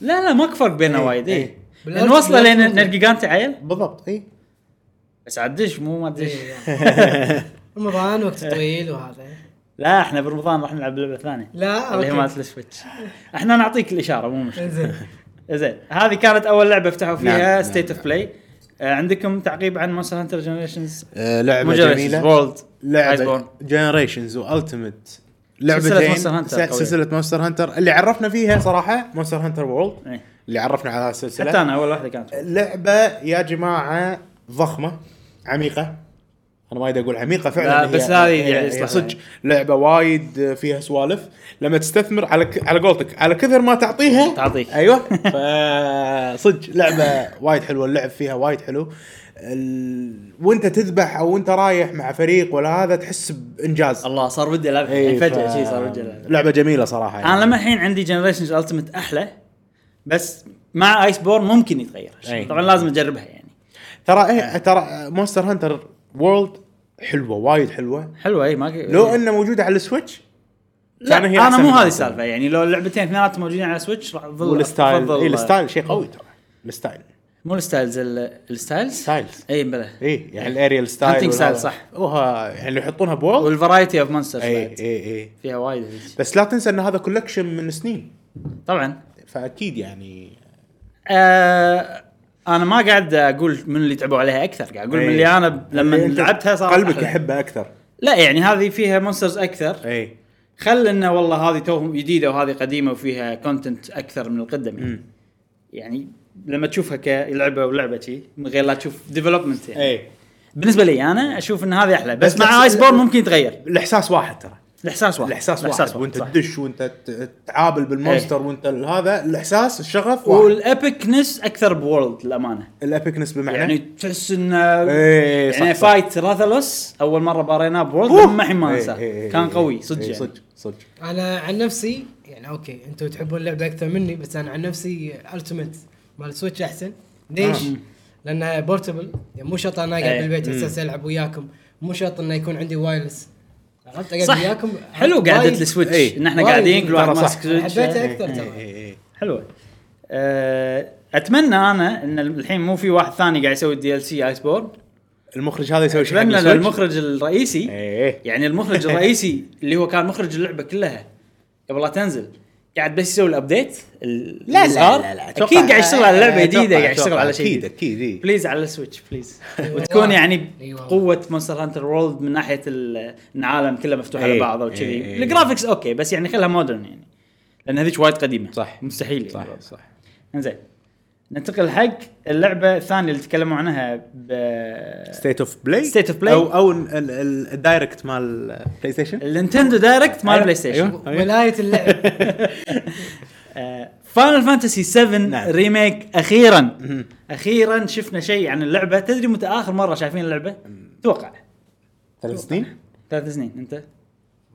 Speaker 1: لا لا ماكو فرق بيننا
Speaker 3: إيه،
Speaker 1: وايد
Speaker 3: إيه.
Speaker 1: اي
Speaker 2: بالأرض-
Speaker 1: نوصله
Speaker 2: بالأرض
Speaker 1: لين
Speaker 2: ممكن.
Speaker 1: نرجيجانتي عيل
Speaker 3: بالضبط اي
Speaker 1: بس عدش مو ما ادري
Speaker 2: إيه، رمضان وقت طويل وهذا
Speaker 1: لا احنا برمضان راح نلعب لعبه ثانيه
Speaker 2: لا
Speaker 1: اللي هي
Speaker 2: أوكي.
Speaker 1: مالت السويتش احنا نعطيك الاشاره مو مشكله
Speaker 2: انزين
Speaker 1: زين هذه كانت اول لعبه فتحوا فيها
Speaker 3: نعم،
Speaker 1: ستيت
Speaker 3: نعم،
Speaker 1: اوف بلاي آه، عندكم تعقيب عن مونستر هانتر جنريشنز
Speaker 3: لعبه جميله
Speaker 1: وورلد
Speaker 3: لعبه جنريشنز والتيمت لعبتين
Speaker 1: Monster Hunter
Speaker 3: س-
Speaker 1: قوية.
Speaker 3: سلسله مونستر هانتر اللي عرفنا فيها صراحه مونستر هانتر وورلد
Speaker 1: إيه.
Speaker 3: اللي عرفنا على
Speaker 1: حتى
Speaker 3: السلسله
Speaker 1: انا اول واحده كانت
Speaker 3: لعبه يا جماعه ضخمه عميقه انا وايد اقول عميقه
Speaker 1: لا،
Speaker 3: فعلا هي-
Speaker 1: بس هذه
Speaker 3: هي-
Speaker 1: يعني
Speaker 3: هي
Speaker 1: صح.
Speaker 3: صدق لعبه وايد فيها سوالف لما تستثمر على ك... على قولتك على كثر ما تعطيها
Speaker 1: تعطيك.
Speaker 3: ايوه فصدق لعبه وايد حلوه اللعب فيها وايد حلو ال... وانت تذبح او وانت رايح مع فريق ولا هذا تحس بانجاز
Speaker 1: الله صار ودي العبها
Speaker 3: إي،
Speaker 1: يعني فجاه
Speaker 3: إيه، ف-
Speaker 1: شي صار ودي العبها
Speaker 3: لعبه جميله صراحه
Speaker 1: انا لما الحين عندي جنريشنز التمت احلى بس مع ايس بورن ممكن يتغير
Speaker 3: أي.
Speaker 1: طبعا لازم اجربها يعني
Speaker 3: ترى إيه ترى مونستر هانتر وورلد حلوه وايد حلوه
Speaker 1: حلوه اي ما
Speaker 3: لو انه موجوده على السويتش
Speaker 1: إيه. لا
Speaker 3: كان هي
Speaker 1: انا
Speaker 3: أحسن
Speaker 1: مو
Speaker 3: من
Speaker 1: هذه
Speaker 3: أصلاً.
Speaker 1: السالفه يعني لو اللعبتين اثنيناتهم موجودين على سويتش راح تظل
Speaker 3: والستايل
Speaker 1: أفضل-
Speaker 3: اي الستايل شيء قوي ترى الستايل
Speaker 1: مو الستايلز ال- الستايلز إيه،
Speaker 3: ستايلز
Speaker 1: اي بلى
Speaker 3: اي يعني الاريال ستايل
Speaker 1: Hunting
Speaker 3: والهذا.
Speaker 1: style، صح.
Speaker 3: وها يعني اللي يحطونها بول
Speaker 1: والفرايتي اوف مونسترز
Speaker 3: اي اي اي
Speaker 1: فيها وايد هيك.
Speaker 3: إيه. بس لا تنسى ان هذا كولكشن من سنين
Speaker 1: طبعا
Speaker 3: فاكيد يعني
Speaker 1: آه انا ما قاعد اقول من اللي تعبوا عليها اكثر قاعد اقول من
Speaker 3: إي.
Speaker 1: اللي انا لما
Speaker 3: اللي إيه. أنت
Speaker 1: لعبتها صار
Speaker 3: قلبك يحبها إيه. اكثر
Speaker 1: لا يعني هذه فيها مونسترز اكثر
Speaker 3: اي
Speaker 1: خل انه والله هذه توهم جديده وهذه قديمه وفيها كونتنت اكثر من القدم يعني,
Speaker 3: مم.
Speaker 1: يعني لما تشوفها كلعبه ولعبه شي من غير لا تشوف ديفلوبمنت يعني.
Speaker 3: اي
Speaker 1: بالنسبه لي انا اشوف ان هذه احلى بس,
Speaker 3: بس
Speaker 1: مع
Speaker 3: نفس-
Speaker 1: ايس بورن ممكن يتغير
Speaker 3: الاحساس واحد ترى
Speaker 1: الاحساس واحد
Speaker 3: الاحساس واحد وانت
Speaker 1: صح. إيه.
Speaker 3: تدش وانت ت- تعابل بالمونستر وانت ال- هذا الاحساس الشغف واحد
Speaker 1: والابيكنس اكثر بورلد للامانه
Speaker 3: الابيكنس بمعنى
Speaker 1: يعني تحس ان
Speaker 3: إيه، صح،
Speaker 1: يعني
Speaker 3: صح.
Speaker 1: فايت راثلوس اول مره باريناه
Speaker 3: أوه! إيه،
Speaker 1: بورلد ما الحين ما
Speaker 3: إي،
Speaker 1: انساه
Speaker 3: إي، إي،
Speaker 1: كان
Speaker 3: إي،
Speaker 1: قوي
Speaker 3: إي،
Speaker 1: صدق يعني
Speaker 3: إيه. صدق صدق
Speaker 2: انا عن نفسي يعني اوكي انتم تحبون اللعبه اكثر مني بس انا عن نفسي التيمت مال سويتش احسن ليش؟
Speaker 3: آه.
Speaker 2: لانها بورتبل يعني مو شرط انا
Speaker 1: نعم. إيه.
Speaker 2: قاعد بالبيت على اساس العب وياكم مو شرط انه يكون عندي وايرلس عرفت اقعد
Speaker 1: صح
Speaker 2: وياكم
Speaker 1: حلو قعده
Speaker 2: وايد-
Speaker 1: السويتش
Speaker 3: إي.
Speaker 1: ان احنا
Speaker 2: وايد.
Speaker 1: قاعدين كل واحد
Speaker 3: إيه. ترى صح.
Speaker 1: ماسك سويتش
Speaker 2: حبيتها
Speaker 1: إي.
Speaker 2: اكثر ترى
Speaker 1: إيه،
Speaker 3: اي اي
Speaker 1: حلوه أه، اتمنى انا ان الحين مو في واحد ثاني قاعد يسوي الدي ال سي ايس بورن
Speaker 3: المخرج هذا يسوي شيء إيه، حق
Speaker 1: اتمنى
Speaker 3: السويتش.
Speaker 1: المخرج الرئيسي
Speaker 3: ايه
Speaker 1: يعني المخرج الرئيسي اللي هو كان مخرج اللعبه كلها قبل لا تنزل قاعد بس يسوي الابديت ال-
Speaker 3: لا لا
Speaker 1: الإصدار.
Speaker 3: لا, لا أتوقع-
Speaker 1: اكيد قاعد يشتغل على لعبه
Speaker 3: أتوقع-
Speaker 1: جديده قاعد
Speaker 3: أتوقع أيوة.
Speaker 1: يشتغل على شيء
Speaker 3: اكيد
Speaker 1: جديد
Speaker 3: اكيد إيه.
Speaker 1: بليز على السويتش بليز
Speaker 2: أي
Speaker 1: وتكون
Speaker 2: والله.
Speaker 1: يعني
Speaker 2: أي
Speaker 3: أيوة.
Speaker 2: والله.
Speaker 1: قوه مونستر هانتر وورلد من ناحيه ال- ان العالم كله مفتوح على
Speaker 3: إيه.
Speaker 1: بعضه
Speaker 3: إيه،
Speaker 1: وكذي
Speaker 3: إيه.
Speaker 1: الجرافكس اوكي بس يعني خلها مودرن يعني لان هذيك وايد قديمه
Speaker 3: صح.
Speaker 1: مستحيل يعني
Speaker 3: صح صح
Speaker 1: انزين ننتقل حق اللعبه الثانيه اللي تكلموا عنها ب
Speaker 3: ستيت اوف بلاي
Speaker 1: State of Play.
Speaker 3: او او ال- ال- الدايركت مال بلاي ستيشن
Speaker 1: النينتندو دايركت مال
Speaker 3: أيوة،
Speaker 1: بلاي ستيشن
Speaker 3: أيوة.
Speaker 2: ولايه اللعب
Speaker 1: فاينل فانتسي 7
Speaker 3: نعم.
Speaker 1: ريميك اخيرا اخيرا شفنا شيء عن اللعبه تدري متى اخر مره شايفين اللعبه؟ توقع
Speaker 3: ثلاث سنين
Speaker 1: ثلاث سنين انت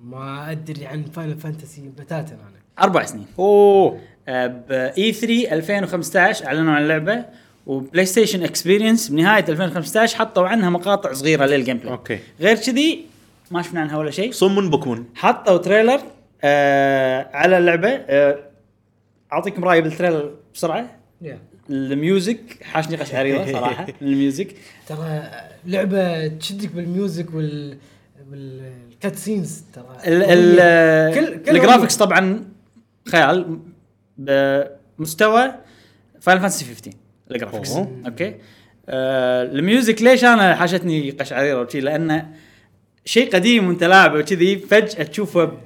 Speaker 2: ما ادري عن فاينل فانتسي بتاتا انا
Speaker 1: اربع سنين آه،
Speaker 3: اوه
Speaker 1: ب E اي 3 2015 اعلنوا عن اللعبه وبلاي ستيشن اكسبيرينس بنهايه 2015 حطوا عنها مقاطع صغيره للجيم بلاي
Speaker 3: أوكي.
Speaker 1: غير كذي ما شفنا عنها ولا شيء
Speaker 3: صم بكون
Speaker 1: حطوا تريلر آه على اللعبه آه اعطيكم رايي بالتريلر بسرعه
Speaker 2: يا.
Speaker 1: الميوزك حاشني قشعريره صراحه من الميوزك
Speaker 2: ترى لعبه تشدك بالميوزك وال والكات سينز ترى
Speaker 1: ال ال
Speaker 2: كل- كل
Speaker 1: الجرافكس طبعا خيال بمستوى فاينل فانتسي 15 الجرافكس
Speaker 3: أوه.
Speaker 1: اوكي آه الميوزك ليش انا حاشتني قشعريره وشي لانه شيء قديم وانت لاعبه وكذي فجاه تشوفه ب-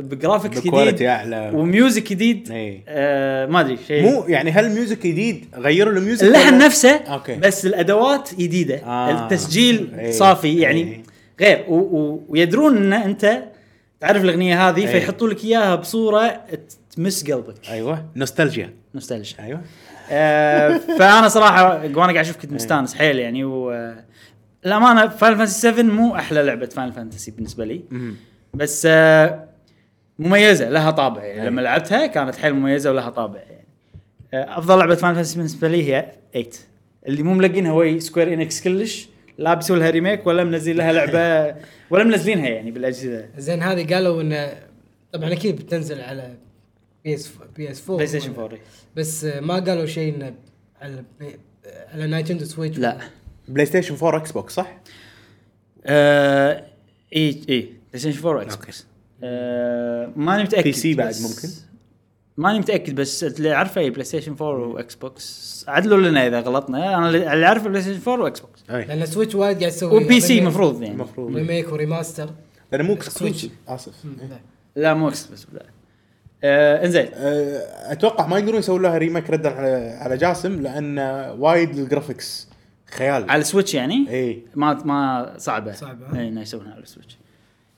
Speaker 1: بجرافيكس
Speaker 3: بكواليتي
Speaker 1: جديد
Speaker 3: اعلى
Speaker 1: وميوزك جديد
Speaker 3: اي
Speaker 1: آه ما ادري شيء
Speaker 3: إيه. مو يعني هل ميوزك جديد غيروا الميوزك
Speaker 1: اللحن
Speaker 3: ولا-
Speaker 1: نفسه
Speaker 3: أوكي.
Speaker 1: أوكي. بس الادوات جديده
Speaker 3: آه.
Speaker 1: آه. التسجيل
Speaker 3: إيه.
Speaker 1: أيه. صافي يعني
Speaker 3: إيه.
Speaker 1: أيه. غير و و ويدرون ان انت تعرف الاغنيه هذه
Speaker 3: إيه.
Speaker 1: أيه. فيحطوا لك اياها بصوره تمس قلبك
Speaker 3: ايوه نوستالجيا
Speaker 1: نوستالجيا
Speaker 3: ايوه
Speaker 1: آه فانا صراحه وانا قاعد اشوف كنت مستانس حيل يعني و الامانه فاينل فانتسي 7 مو احلى لعبه فاينل فانتسي بالنسبه لي
Speaker 3: مم.
Speaker 1: بس آه مميزه لها طابع يعني
Speaker 3: أي.
Speaker 1: لما لعبتها كانت حيل مميزه ولها طابع يعني آه افضل لعبه فان فانتسي بالنسبه لي هي 8 اللي مو ملقينها وي سكوير انكس كلش لا بيسوي لها ريميك ولا منزلين لها لعبه ولا منزلينها يعني بالاجهزه
Speaker 2: زين هذه قالوا انه طبعا اكيد بتنزل على بي اس بي اس 4
Speaker 1: بلاي ستيشن 4
Speaker 2: بس ما قالوا شيء انه على بي- على نايتندو سويتش
Speaker 1: لا
Speaker 3: بلاي ستيشن 4 اكس بوكس صح؟
Speaker 1: آه اي اي بلاي ستيشن 4 اكس بوكس آه ماني متاكد
Speaker 3: بي سي بعد
Speaker 1: بس-
Speaker 3: ممكن؟
Speaker 1: ماني متاكد بس اللي اعرفه هي بلاي ستيشن 4 واكس بوكس عدلوا لنا اذا غلطنا انا اللي اللي اعرفه بلاي ستيشن 4 واكس بوكس
Speaker 3: اي
Speaker 2: لان سويتش وايد قاعد يسوي
Speaker 1: وبي سي
Speaker 2: ريميك-
Speaker 1: المفروض يعني
Speaker 3: المفروض
Speaker 2: ريميك وريماستر
Speaker 3: لانه مو
Speaker 2: سويتش.
Speaker 3: سويتش اسف
Speaker 2: مم، لا.
Speaker 1: لا مو اكس بس لا آه انزين
Speaker 3: أه، اتوقع ما يقدرون يسوون لها ريميك ردا على على جاسم لان وايد الجرافكس خيال
Speaker 1: على السويتش يعني
Speaker 3: اي
Speaker 1: ما ما صعبه
Speaker 2: صعبة، ها؟
Speaker 1: اي انه يسوونها على السويتش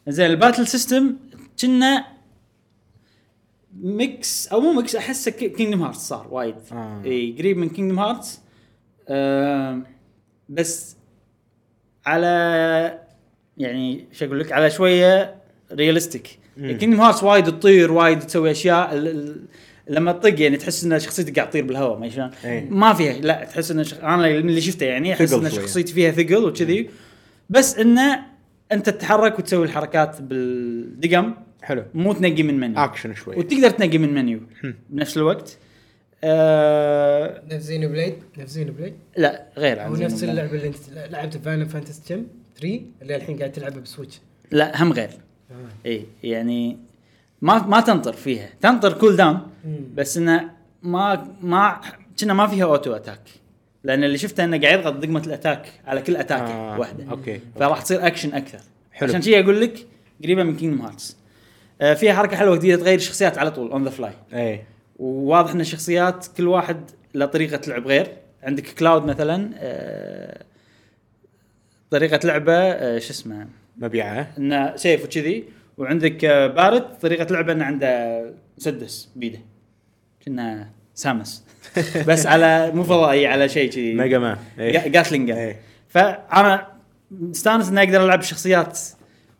Speaker 1: زين الباتل سيستم كنا ميكس او مو ميكس احسه كينجدم هارتس صار وايد
Speaker 3: آه.
Speaker 1: اي قريب من كينجدم هارتس آم، بس على يعني شو اقول لك على شويه ريالستيك كينجدم هارتس وايد تطير وايد تسوي اشياء ال- ال- لما تطق يعني تحس ان شخصيتك قاعد تطير بالهواء ما شلون
Speaker 3: إيه.
Speaker 1: ما فيها لا تحس ان شخ... انا من اللي شفته يعني احس
Speaker 3: ثقل
Speaker 1: ان
Speaker 3: شوية.
Speaker 1: شخصيتي فيها ثقل وكذي بس انه انت تتحرك وتسوي الحركات بالدقم
Speaker 3: حلو
Speaker 1: مو تنقي من منيو
Speaker 3: اكشن شوي
Speaker 1: وتقدر تنقي من منيو بنفس الوقت آه...
Speaker 2: نفس زينو بليد نفس زينو بليد
Speaker 1: لا غير عن
Speaker 2: هو
Speaker 1: زينو
Speaker 2: نفس
Speaker 1: بلاد.
Speaker 2: اللعبه اللي انت لعبت فاينل فانتسي كم 3 اللي الحين قاعد تلعبها بسويتش
Speaker 1: لا هم غير اي يعني ما ما تنطر فيها تنطر كول داون
Speaker 2: مم.
Speaker 1: بس انه ما ما كنا ما فيها اوتو اتاك لان اللي شفته انه قاعد يضغط دقمه الاتاك على كل اتاك
Speaker 3: آه،
Speaker 1: آه. واحده
Speaker 3: أوكي.
Speaker 1: فراح تصير اكشن اكثر
Speaker 3: حلو.
Speaker 1: حلو عشان شي اقول لك قريبه من كينجدم هارتس آه فيها حركه حلوه جديده تغير الشخصيات على طول اون ذا فلاي
Speaker 3: اي
Speaker 1: وواضح ان الشخصيات كل واحد له طريقه لعب غير عندك كلاود مثلا آه طريقه لعبه آه شو اسمه
Speaker 3: مبيعه
Speaker 1: انه سيف وكذي وعندك آه، بارد طريقه لعبه انه عنده مسدس بيده كنا سامس بس على مو فضائي على شيء كذي
Speaker 3: ميجا مان
Speaker 1: جا- جاتلينجا
Speaker 3: إيه.
Speaker 1: فانا مستانس اني اقدر العب شخصيات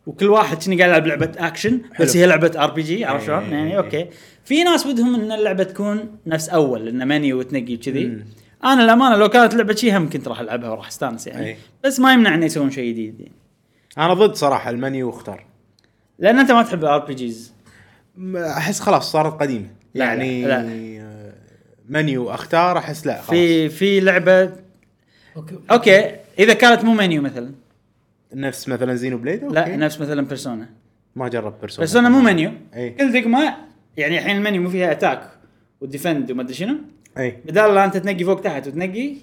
Speaker 1: وكل واحد كني قاعد يلعب لعبه اكشن بس
Speaker 3: حلو.
Speaker 1: هي لعبه ار بي جي عرفت شلون؟
Speaker 3: إيه.
Speaker 1: يعني اوكي في ناس ودهم ان اللعبه تكون نفس اول انه منيو وتنقي كذي انا الامانه لو كانت لعبه شي هم كنت راح العبها وراح استانس
Speaker 3: إيه.
Speaker 1: يعني بس ما يمنع ان يسوون شيء جديد يعني.
Speaker 3: انا ضد صراحه المنيو اختار
Speaker 1: لان انت ما تحب الار بي جيز
Speaker 3: م- احس خلاص صارت قديمه
Speaker 1: لا،
Speaker 3: يعني
Speaker 1: لا،
Speaker 3: آه، منيو اختار احس لا خلاص
Speaker 1: في في لعبه
Speaker 2: اوكي
Speaker 1: اوكي اذا كانت مو منيو مثلا
Speaker 3: نفس مثلا زينو بليد أوكي.
Speaker 1: لا نفس مثلا بيرسونا
Speaker 3: ما جرب بيرسونا
Speaker 1: بيرسونا مو منيو
Speaker 3: إي.
Speaker 1: كل دقمه يعني الحين المنيو مو فيها اتاك وديفند وما ادري شنو
Speaker 3: اي
Speaker 1: بدال لا انت تنقي فوق تحت وتنقي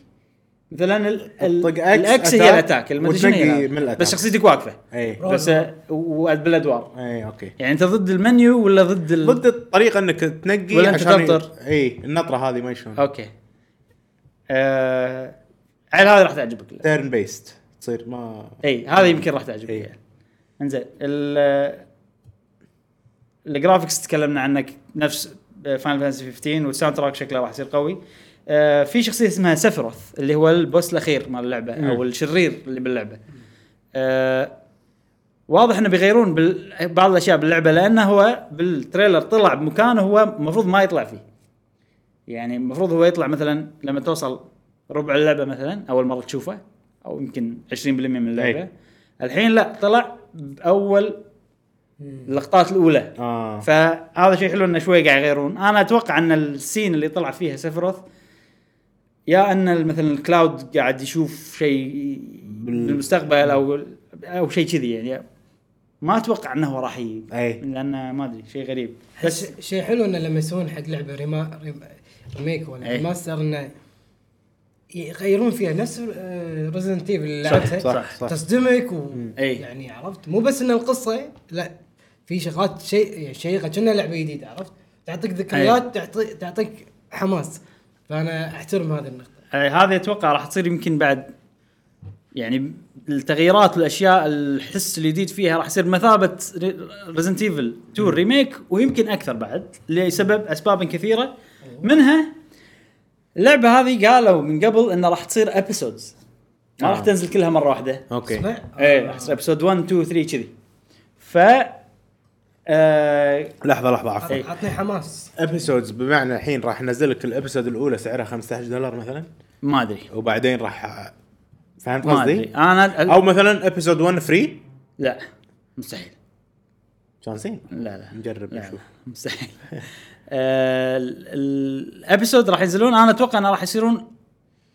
Speaker 1: مثلا ال- ال-
Speaker 3: تطق إكس،
Speaker 1: الاكس هي
Speaker 3: أتاك،
Speaker 1: الاتاك المدري شنو
Speaker 3: وتنقي
Speaker 1: هي
Speaker 3: من الأتاك.
Speaker 1: بس شخصيتك واقفه
Speaker 3: اي
Speaker 2: رول.
Speaker 1: بس آه، و- بالادوار
Speaker 3: اي اوكي
Speaker 1: يعني انت ضد المنيو ولا ضد ال...
Speaker 3: ضد الطريقه انك تنقي
Speaker 1: ولا أنت تنطر؟
Speaker 3: اي النطره هذه ما شلون
Speaker 1: اوكي آه... عيل هذه راح تعجبك
Speaker 3: تيرن بيست تصير ما
Speaker 1: اي إيه، هذا يمكن راح تعجبك
Speaker 3: إي.
Speaker 1: يعني. انزين ال الجرافكس تكلمنا عنك نفس فاينل فانتسي 15 والساوند تراك شكله راح يصير قوي آه، في شخصيه اسمها سفروث اللي هو البوس الاخير مال اللعبه او الشرير اللي باللعبه آه، واضح انه بيغيرون بال- بعض الاشياء باللعبه لانه هو بالتريلر طلع بمكان هو المفروض ما يطلع فيه يعني المفروض هو يطلع مثلا لما توصل ربع اللعبه مثلا اول مره تشوفه او يمكن 20% من اللعبه
Speaker 3: أي.
Speaker 1: الحين لا طلع باول
Speaker 2: مم.
Speaker 1: اللقطات الاولى
Speaker 3: اه
Speaker 1: فهذا شيء حلو انه شوي قاعد يغيرون انا اتوقع ان السين اللي طلع فيها سفروث يا ان مثلا الكلاود قاعد يشوف شيء بالمستقبل او او شيء كذي يعني ما اتوقع انه هو راح ي...
Speaker 3: أي.
Speaker 1: لانه ما ادري شيء غريب
Speaker 2: بس شيء حلو انه لما يسوون حق لعبه ريما ريم- ريميك ولا
Speaker 1: إيه.
Speaker 2: ريماستر انه يغيرون فيها نفس ريزدنت ايفل اللي
Speaker 1: صح،
Speaker 2: لعبتها
Speaker 3: صح، صح.
Speaker 2: تصدمك و...
Speaker 1: أي.
Speaker 2: يعني عرفت مو بس ان القصه لا في شغلات شيء يعني شيقه كأنها لعبه جديده عرفت تعطيك
Speaker 1: إيه.
Speaker 2: ذكريات تعطي... تعطيك حماس فانا احترم هذه النقطه
Speaker 1: آه، هذه اتوقع راح تصير يمكن بعد يعني التغييرات والاشياء الحس الجديد فيها راح يصير مثابه ريزنت ايفل 2 ريميك ويمكن اكثر بعد لسبب اسباب كثيره منها اللعبه هذه قالوا من قبل انها راح تصير ابيسودز ما راح
Speaker 3: آه.
Speaker 1: تنزل كلها مره واحده
Speaker 3: اوكي
Speaker 2: اسمع
Speaker 1: ايه راح تصير ابيسود 1 2 3 كذي ف آه،
Speaker 3: لحظه لحظه عفوا
Speaker 1: إيه.
Speaker 2: عطني حماس
Speaker 3: ابيسودز بمعنى الحين راح انزل لك الابيسود الاولى سعرها 15 دولار مثلا
Speaker 1: ما ادري
Speaker 3: وبعدين راح أ- فهمت
Speaker 1: ما ادري
Speaker 3: قصدي؟
Speaker 1: انا
Speaker 3: او مثلا ابيسود 1 فري
Speaker 1: لا مستحيل
Speaker 3: شانسين
Speaker 1: لا لا
Speaker 3: نجرب
Speaker 1: لا،
Speaker 3: نشوف.
Speaker 1: لا، مستحيل آه، ال- ال- الابيسود راح ينزلون انا اتوقع انه راح يصيرون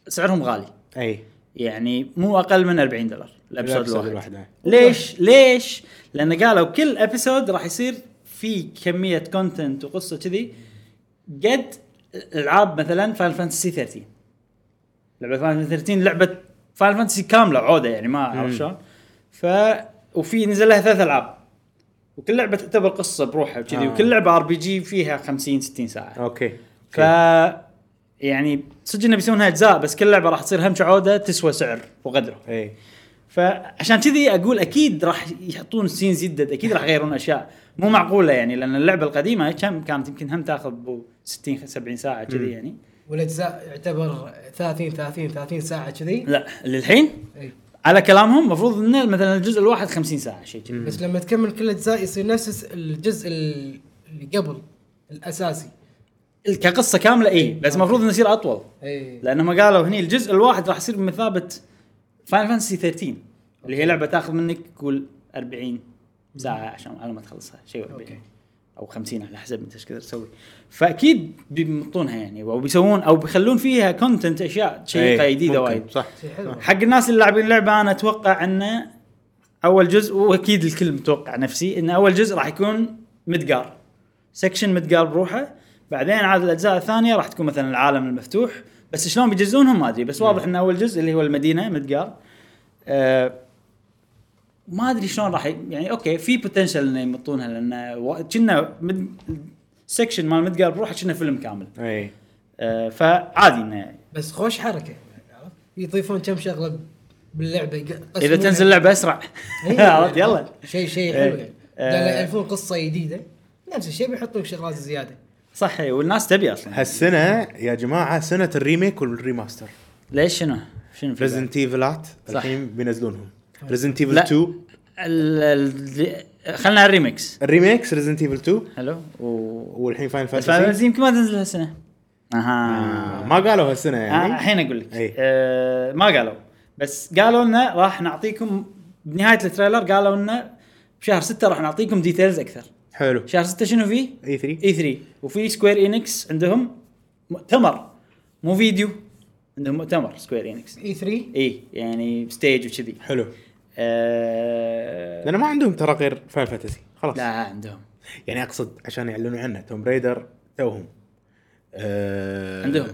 Speaker 1: سعرهم غالي
Speaker 3: اي
Speaker 1: يعني مو اقل من 40 دولار الابيسود
Speaker 3: الأبيسود
Speaker 1: الواحد,
Speaker 3: الواحد، إيه.
Speaker 1: ليش ليش لان قالوا كل ابيسود راح يصير في كميه كونتنت وقصه كذي قد العاب مثلا فاينل فانتسي 13 لعبه فاينل فانتسي 13 لعبه فاينل فانتسي كامله عوده يعني ما اعرف
Speaker 3: مم.
Speaker 1: شلون ف وفي نزل لها ثلاث العاب وكل لعبه تعتبر قصه بروحها وكذي
Speaker 3: آه.
Speaker 1: آه. وكل لعبه ار بي جي فيها 50 60 ساعه
Speaker 3: اوكي
Speaker 1: ف يعني صدق انه بيسوونها اجزاء بس كل لعبه راح تصير هم عوده تسوى سعر وقدره
Speaker 3: اي
Speaker 1: فعشان كذي اقول اكيد راح يحطون سين جدد اكيد راح يغيرون اشياء مو معقوله يعني لان اللعبه القديمه كم كانت يمكن هم تاخذ بو 60 70 ساعه كذي يعني
Speaker 2: والاجزاء يعتبر 30 30 30 ساعه كذي
Speaker 1: لا للحين
Speaker 2: إيه.
Speaker 1: على كلامهم المفروض انه مثلا الجزء الواحد 50 ساعه شيء كذي
Speaker 2: بس لما تكمل كل الاجزاء يصير نفس الجزء اللي قبل الاساسي
Speaker 1: كقصه كامله اي إيه، بس المفروض انه يصير اطول
Speaker 2: اي
Speaker 1: لانهم قالوا هني الجزء الواحد راح يصير بمثابه فاين فانسي 13 اللي هي لعبه تاخذ منك قول 40 ساعه عشان على ما تخلصها شيء 40
Speaker 2: أوكي.
Speaker 1: او 50 على حسب انت ايش قدرت تسوي فاكيد بيمطونها يعني او بيسوون او بيخلون فيها كونتنت اشياء شيقه
Speaker 3: إي،
Speaker 1: جديده
Speaker 3: إيه. ممكن،
Speaker 1: وايد
Speaker 3: صح
Speaker 2: شيء حلو
Speaker 1: حق الناس اللي لاعبين اللعبه انا اتوقع انه اول جزء واكيد الكل متوقع نفسي ان اول جزء راح يكون مدقار سكشن مدقار بروحه بعدين عاد الاجزاء الثانيه راح تكون مثلا العالم المفتوح بس شلون بيجزونهم ما ادري بس واضح ان اول جزء اللي هو المدينه مدقار آه ما ادري شلون راح ي- يعني اوكي في بوتنشل انه يمطونها لان و- كنا مد... سكشن مال مدقار بروحه كنا فيلم كامل
Speaker 3: اي
Speaker 1: آه فعادي انه
Speaker 2: بس خوش حركه يعني عرفت؟ يضيفون كم شغله باللعبه يق-
Speaker 1: اذا تنزل لعبه اسرع
Speaker 2: إيه،
Speaker 1: عرفت يلا
Speaker 2: شيء شيء
Speaker 1: إيه.
Speaker 2: حلو يعني
Speaker 1: آه.
Speaker 2: لان يعرفون قصه جديده نفس الشيء بيحطون شغلات زياده
Speaker 1: صح إي، والناس تبي اصلا
Speaker 3: هالسنه يا جماعه سنه الريميك والريماستر
Speaker 1: ليش شنو؟ شنو في بعد؟
Speaker 3: ريزنت ايفلات
Speaker 1: صح.
Speaker 3: الحين بينزلونهم ريزنت ايفل
Speaker 1: لا.
Speaker 3: 2
Speaker 1: ال- ال- خلنا على الريمكس
Speaker 3: الريميكس ريزنت ايفل 2
Speaker 1: حلو و
Speaker 3: والحين فاين
Speaker 1: بس
Speaker 3: فانتسي
Speaker 1: يمكن ما تنزل هالسنه اها
Speaker 3: آه، ما قالوا هالسنه
Speaker 1: آه،
Speaker 3: يعني
Speaker 1: الحين اقول لك
Speaker 3: إي.
Speaker 1: آه، ما قالوا بس قالوا لنا راح نعطيكم بنهايه التريلر قالوا لنا بشهر 6 راح نعطيكم ديتيلز اكثر
Speaker 3: حلو
Speaker 1: شهر 6 شنو فيه؟
Speaker 3: اي 3
Speaker 1: اي 3 وفي سكوير انكس عندهم مؤتمر مو فيديو عندهم مؤتمر سكوير انكس
Speaker 2: اي 3
Speaker 1: اي يعني ستيج وكذي
Speaker 3: حلو
Speaker 1: آه...
Speaker 3: لان ما عندهم ترى غير فاين فانتسي خلاص
Speaker 1: لا عندهم
Speaker 3: يعني اقصد عشان يعلنوا عنه توم ريدر توهم آه
Speaker 1: عندهم.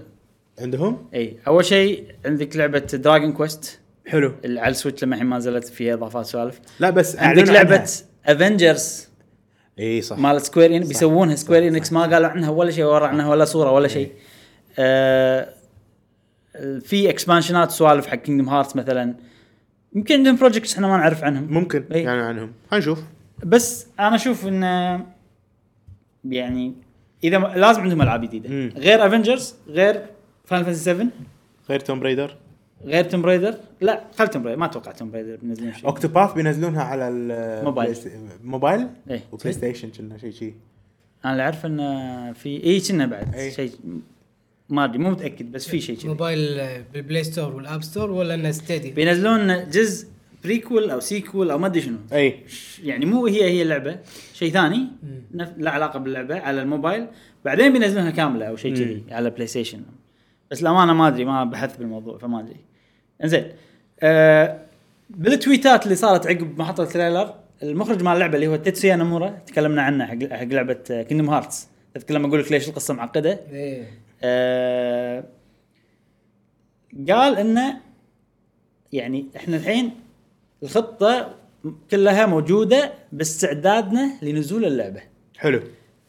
Speaker 3: عندهم
Speaker 1: اي اول شيء عندك لعبه دراجون كويست
Speaker 3: حلو
Speaker 1: اللي على السويتش لما الحين ما نزلت فيها اضافات سوالف
Speaker 3: لا بس
Speaker 1: عندك لعبه افنجرز
Speaker 3: اي صح
Speaker 1: مال سكوير ان بيسوونها سكوير انكس ما قالوا عنها ولا شيء ورا عنها ولا صوره ولا شيء آه... في اكسبانشنات سوالف حق كينجدم هارت مثلا يمكن عندهم بروجكتس احنا ما نعرف عنهم
Speaker 3: ممكن
Speaker 1: إي.
Speaker 3: يعني عنهم هنشوف
Speaker 1: بس انا اشوف انه يعني اذا ما- لازم عندهم العاب جديده
Speaker 3: مم.
Speaker 1: غير افنجرز غير فان فانتسي 7
Speaker 3: غير توم ريدر
Speaker 1: غير توم بريدر لا خل توم بريدر ما اتوقع توم بريدر بينزلون شيء
Speaker 3: اوكتوباث بينزلونها على ال
Speaker 1: موبايل.
Speaker 3: بلايست- موبايل
Speaker 1: إيه.
Speaker 3: وبلاي ستيشن كنا شيء شيء
Speaker 1: انا اللي اعرف انه في اي كنا بعد
Speaker 3: إي.
Speaker 1: شيء ما ادري مو متاكد بس في شيء كذي
Speaker 2: موبايل آه، بالبلاي ستور والاب ستور ولا انه ستيدي
Speaker 1: بينزلون جزء بريكول او سيكول او ما ادري شنو
Speaker 3: اي
Speaker 1: يعني مو هي هي اللعبه شيء ثاني
Speaker 2: مم.
Speaker 1: نف- لا علاقه باللعبه على الموبايل بعدين بينزلونها كامله او شيء كذي على بلاي ستيشن بس الامانه ما ادري ما بحثت بالموضوع فما ادري انزين آه بالتويتات اللي صارت عقب ما حطوا التريلر المخرج مال اللعبه اللي هو تيتسويا نامورا تكلمنا عنه حق حق آه، لعبه كيندم هارتس
Speaker 2: إيه.
Speaker 1: تذكر لما اقول لك ليش القصه معقده
Speaker 2: ايه
Speaker 1: آه، قال انه يعني احنا الحين الخطه كلها موجوده باستعدادنا لنزول اللعبه
Speaker 3: حلو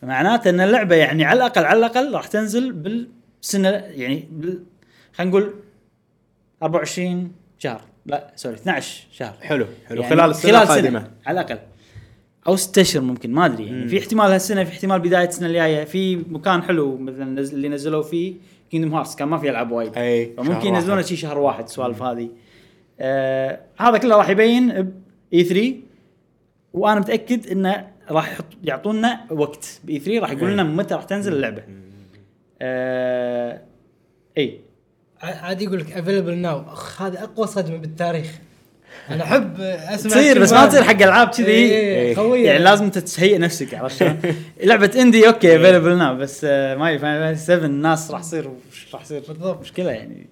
Speaker 1: معناته ان اللعبه يعني على الاقل على الاقل راح تنزل بالسنه يعني بال... خلينا نقول 24 شهر لا سوري 12 شهر
Speaker 3: حلو حلو يعني خلال السنه القادمه
Speaker 1: على الاقل او ست اشهر ممكن ما ادري يعني
Speaker 3: مم.
Speaker 1: في احتمال هالسنه في احتمال بدايه السنه الجايه في مكان حلو مثلا نزل اللي نزلوا فيه كيندم هارتس كان ما في العاب وايد
Speaker 3: اي شهر
Speaker 1: فممكن ينزلونه
Speaker 3: واحد.
Speaker 1: شي شهر واحد السوالف هذه آه هذا كله راح يبين ب E اي 3 وانا متاكد انه راح يحط- يعطونا وقت باي 3 راح يقول لنا متى راح تنزل اللعبه آه اي
Speaker 2: ع- عادي يقول لك افيلبل ناو اخ هذا اقوى صدمه بالتاريخ انا احب اسمع
Speaker 1: تصير
Speaker 2: شي
Speaker 1: بس ما
Speaker 2: هذا.
Speaker 1: تصير حق العاب كذي
Speaker 2: إيه،
Speaker 3: إيه.
Speaker 2: خويه
Speaker 1: يعني لازم انت تهيئ نفسك عرفت شلون؟ لعبه اندي
Speaker 3: إيه.
Speaker 1: اوكي افيلبل ناو بس آه، ما يفهم 7 الناس راح تصير راح تصير
Speaker 2: بالضبط.
Speaker 1: مشكله يعني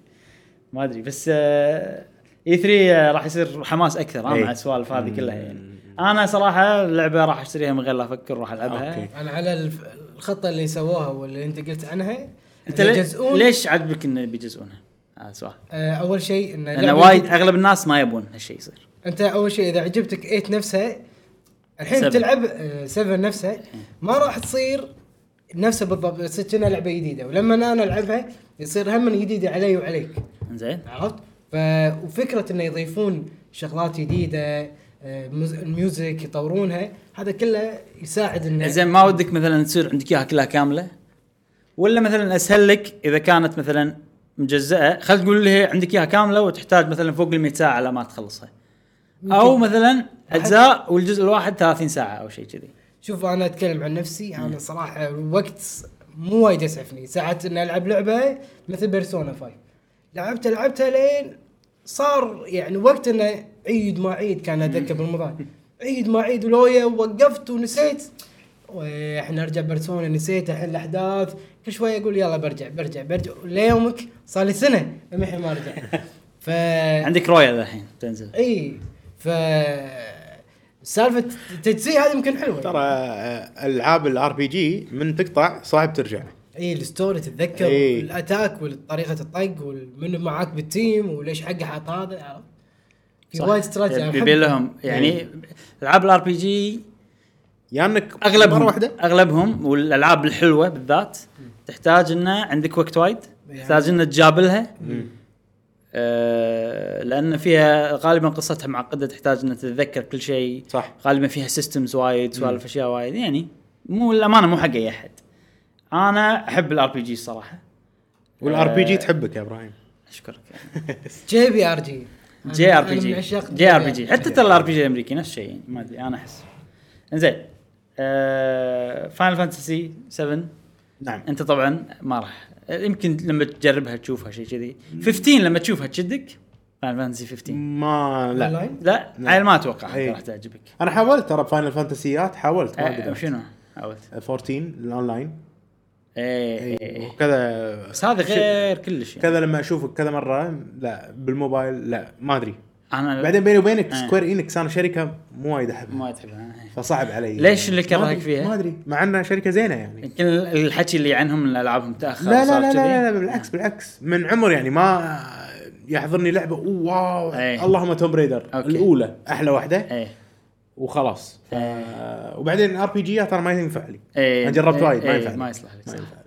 Speaker 1: ما ادري بس آه، اي 3 آه، راح يصير حماس اكثر أنا
Speaker 3: إيه.
Speaker 1: مع السوالف هذه كلها يعني
Speaker 3: مم.
Speaker 1: انا صراحه اللعبه راح اشتريها من غير لا افكر راح العبها
Speaker 3: أوكي.
Speaker 2: انا على الف- الخطه اللي سووها واللي انت قلت عنها
Speaker 1: انت
Speaker 2: إنه
Speaker 1: لي-
Speaker 2: يجزئون-
Speaker 1: ليش عجبك انه بيجزئونها؟ هذا سؤال
Speaker 2: آه، اول شيء انه
Speaker 1: لان
Speaker 2: لعبة
Speaker 1: وايد
Speaker 2: جديدة.
Speaker 1: اغلب الناس ما يبون هالشيء يصير
Speaker 2: انت اول شيء اذا عجبتك ايت نفسها الحين
Speaker 1: سبعة.
Speaker 2: تلعب 7 نفسها
Speaker 1: إيه.
Speaker 2: ما راح تصير نفسها بالضبط تصير كأنها لعبه جديده ولما انا العبها يصير هم جديده علي وعليك
Speaker 1: زين
Speaker 2: عرفت؟ ف وفكره انه يضيفون شغلات جديده آه، مز- الميوزك يطورونها هذا كله يساعد انه
Speaker 1: زين ما ودك مثلا تصير عندك اياها كلها كامله ولا مثلا اسهل لك اذا كانت مثلا مجزئه خلينا نقول اللي هي عندك اياها كامله وتحتاج مثلا فوق ال 100 ساعه على ما تخلصها او مثلا اجزاء والجزء الواحد 30 ساعه او شيء كذي
Speaker 2: شوف انا اتكلم عن نفسي انا صراحه الوقت مو وايد يسعفني ساعات اني العب لعبه مثل بيرسونا 5 لعبتها لعبتها لين صار يعني وقت انه عيد ما عيد كان اتذكر بالموضوع عيد ما عيد ولويا وقفت ونسيت احنا ارجع بيرسونا نسيت الحين الاحداث كل شويه اقول يلا برجع برجع برجع ليومك صار لي سنه للحين ما رجع ف
Speaker 1: عندك رويال الحين تنزل
Speaker 2: اي ف سالفه التجزئه هذه يمكن حلوه
Speaker 3: ترى آه، العاب الار بي جي من تقطع صعب ترجع
Speaker 2: اي الستوري تتذكر
Speaker 3: إي.
Speaker 2: الاتاك وطريقه الطق ومن معاك بالتيم وليش حقه حاط هذا عرفت؟ في
Speaker 1: صح.
Speaker 2: وايد استراتيجي أنا
Speaker 1: يبي
Speaker 2: أحب-
Speaker 1: لهم يعني العاب الار بي جي
Speaker 3: يا انك
Speaker 1: اغلبهم
Speaker 3: مره واحده
Speaker 1: اغلبهم والالعاب الحلوه بالذات تحتاج انه عندك وقت وايد
Speaker 2: يعني؟
Speaker 1: تحتاج انه تجابلها آه لان فيها غالبا قصتها معقده تحتاج انك تتذكر كل شيء
Speaker 3: صح
Speaker 1: غالبا فيها سيستمز وايد سوالف اشياء وايد يعني مو الامانه مو حق اي احد انا احب الار بي جي الصراحه آه.
Speaker 3: والار بي جي تحبك يا ابراهيم
Speaker 1: اشكرك
Speaker 2: جي بي ار جي
Speaker 1: جي
Speaker 2: أنا-
Speaker 1: ار بي
Speaker 2: أنا
Speaker 1: جي
Speaker 2: من عشاق
Speaker 1: جي ار بي
Speaker 2: JRPG.
Speaker 1: جي حتى ترى الار بي جي الامريكي نفس الشيء يعني ما ادري انا احس انزين فاينل فانتسي 7
Speaker 3: نعم
Speaker 1: انت طبعا ما راح يمكن لما تجربها تشوفها شيء كذي 15 لما تشوفها تشدك فاينل فانتسي 15
Speaker 3: ما لا
Speaker 2: أونلاين؟
Speaker 1: لا
Speaker 3: نعم.
Speaker 1: عيل ما اتوقع
Speaker 3: إيه.
Speaker 1: راح تعجبك
Speaker 3: انا حاولت ترى بفاينل فانتسيات حاولت ما
Speaker 1: آه،
Speaker 3: قدرت.
Speaker 1: شنو حاولت
Speaker 3: 14 الاونلاين
Speaker 1: إيه، إيه،
Speaker 3: إيه.
Speaker 1: إيه.
Speaker 3: وكذا
Speaker 1: بس هذا غير كلش يعني
Speaker 3: كذا لما اشوفك كذا مره لا بالموبايل لا ما ادري
Speaker 1: انا
Speaker 3: بعدين بيني وبينك
Speaker 1: آه.
Speaker 3: سكوير انكس انا شركه مو وايد احبها
Speaker 1: ما تحبها
Speaker 3: فصعب علي
Speaker 1: ليش اللي كرهك
Speaker 3: ما أدري-
Speaker 1: فيها؟
Speaker 3: ما ادري مع انها شركه زينه يعني
Speaker 1: يمكن الحكي اللي عنهم ان العابهم تاخر
Speaker 3: لا لا
Speaker 1: وصار
Speaker 3: لا, لا
Speaker 1: كذي.
Speaker 3: لا لا بالعكس بالعكس من عمر يعني ما يحضرني لعبه أوه واو
Speaker 1: أي.
Speaker 3: اللهم توم بريدر
Speaker 1: إيه. أوكي.
Speaker 3: الاولى احلى واحده
Speaker 1: ايه
Speaker 3: وخلاص ف... وبعدين ار بي جيات ترى ما ينفع لي
Speaker 1: ايه
Speaker 3: انا جربت
Speaker 1: إيه،
Speaker 3: وايد ما
Speaker 1: إيه،
Speaker 3: ينفع لي.
Speaker 1: ما يصلح لك
Speaker 3: ما
Speaker 1: صح.
Speaker 3: ينفع لي.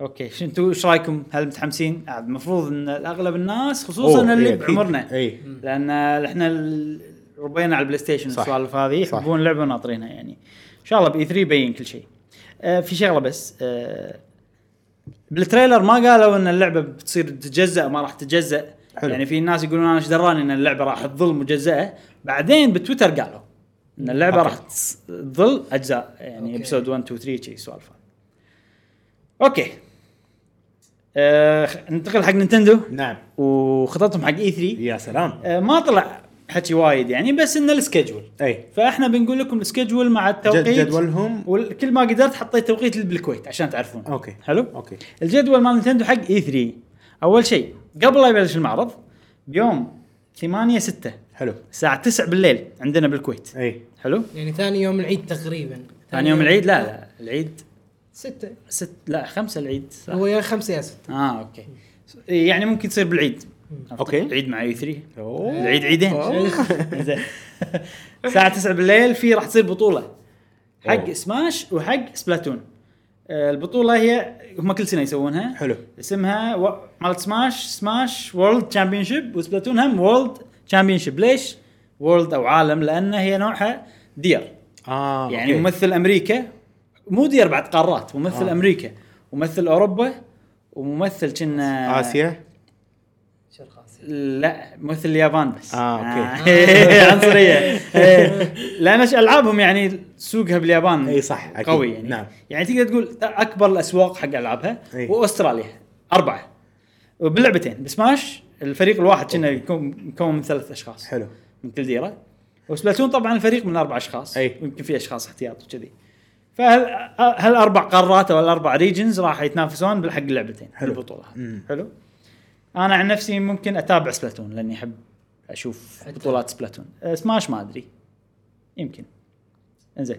Speaker 1: اوكي شو انتم ايش رايكم؟ هل متحمسين؟ عاد المفروض ان اغلب الناس خصوصا
Speaker 3: أوه،
Speaker 1: اللي
Speaker 3: إيه، أكيد.
Speaker 1: بعمرنا
Speaker 3: إيه.
Speaker 1: لان احنا ال- ربينا على البلاي ستيشن
Speaker 3: صح.
Speaker 1: والسوالف هذه
Speaker 3: صح.
Speaker 1: يحبون لعبه وناطرينها يعني ان شاء الله باي 3 يبين كل شيء. آه في شغله بس آه بالتريلر ما قالوا ان اللعبه بتصير تتجزا ما راح تتجزا
Speaker 3: حلو.
Speaker 1: يعني في ناس يقولون انا ايش دراني ان اللعبه راح تظل مجزاه بعدين بتويتر قالوا ان اللعبه
Speaker 3: أوكي.
Speaker 1: راح تس- تظل اجزاء يعني
Speaker 2: أوكي.
Speaker 1: ابسود 1 2 3 شي سوالف اوكي آه خ- ننتقل حق نينتندو
Speaker 3: نعم
Speaker 1: وخططهم حق اي 3
Speaker 3: يا سلام
Speaker 1: آه، ما طلع حكي وايد يعني بس انه السكجول
Speaker 3: اي
Speaker 1: فاحنا بنقول لكم السكجول مع التوقيت
Speaker 3: إيه. جد جدولهم
Speaker 1: وكل ما قدرت حطيت توقيت اللي بالكويت عشان تعرفون
Speaker 3: اوكي
Speaker 1: حلو
Speaker 3: اوكي
Speaker 1: الجدول مال نينتندو حق اي 3 اول شيء قبل لا يبلش المعرض بيوم 8 6
Speaker 3: حلو إيه.
Speaker 1: الساعه 9 بالليل عندنا بالكويت
Speaker 3: اي
Speaker 1: حلو
Speaker 2: يعني ثاني يوم العيد تقريبا
Speaker 1: ثاني يوم العيد لا لا العيد
Speaker 2: ستة
Speaker 1: ست لا خمسة العيد صح
Speaker 2: هو يا خمسة يا ستة
Speaker 1: اه اوكي يعني ممكن تصير بالعيد
Speaker 3: أوكي.
Speaker 1: العيد مع E اي 3
Speaker 3: أوه.
Speaker 1: العيد عيدين
Speaker 3: أوه.
Speaker 1: زين الساعه 9 بالليل في راح تصير بطوله حق
Speaker 3: أوه.
Speaker 1: سماش وحق سبلاتون آه، البطوله هي هم كل سنه يسوونها
Speaker 3: حلو
Speaker 1: اسمها و... مالت سماش سماش وورلد تشامبيون شيب وسبلاتون هم وورلد تشامبيون شيب ليش؟ وورلد او عالم لان هي نوعها دير
Speaker 3: اه
Speaker 1: يعني
Speaker 3: أوكي.
Speaker 1: ممثل امريكا مو دير بعد قارات ممثل
Speaker 3: آه.
Speaker 1: آه. امريكا وممثل اوروبا وممثل كنا
Speaker 3: اسيا
Speaker 2: شرق اسيا
Speaker 1: لا ممثل اليابان بس
Speaker 3: آه، أوكي.
Speaker 1: آه. عنصريه إيه. لان العابهم يعني سوقها باليابان
Speaker 3: إي صح، أكيد.
Speaker 1: قوي يعني
Speaker 3: نعم.
Speaker 1: يعني تقدر تقول اكبر الاسواق حق العابها
Speaker 3: إي.
Speaker 1: واستراليا اربعه وباللعبتين بسماش الفريق الواحد كنا يكون يكون من ثلاث اشخاص
Speaker 3: حلو
Speaker 1: من كل ديره وسبلاتون طبعا الفريق من اربع اشخاص
Speaker 3: أي.
Speaker 1: ويمكن في اشخاص احتياط وكذي فهالاربع قارات او الاربع ريجنز راح يتنافسون بالحق اللعبتين
Speaker 3: حلو.
Speaker 1: حلو البطوله
Speaker 3: مم.
Speaker 1: حلو انا عن نفسي ممكن اتابع سبلاتون لاني احب اشوف
Speaker 2: حتى.
Speaker 1: بطولات سبلاتون أه، سماش ما ادري يمكن انزين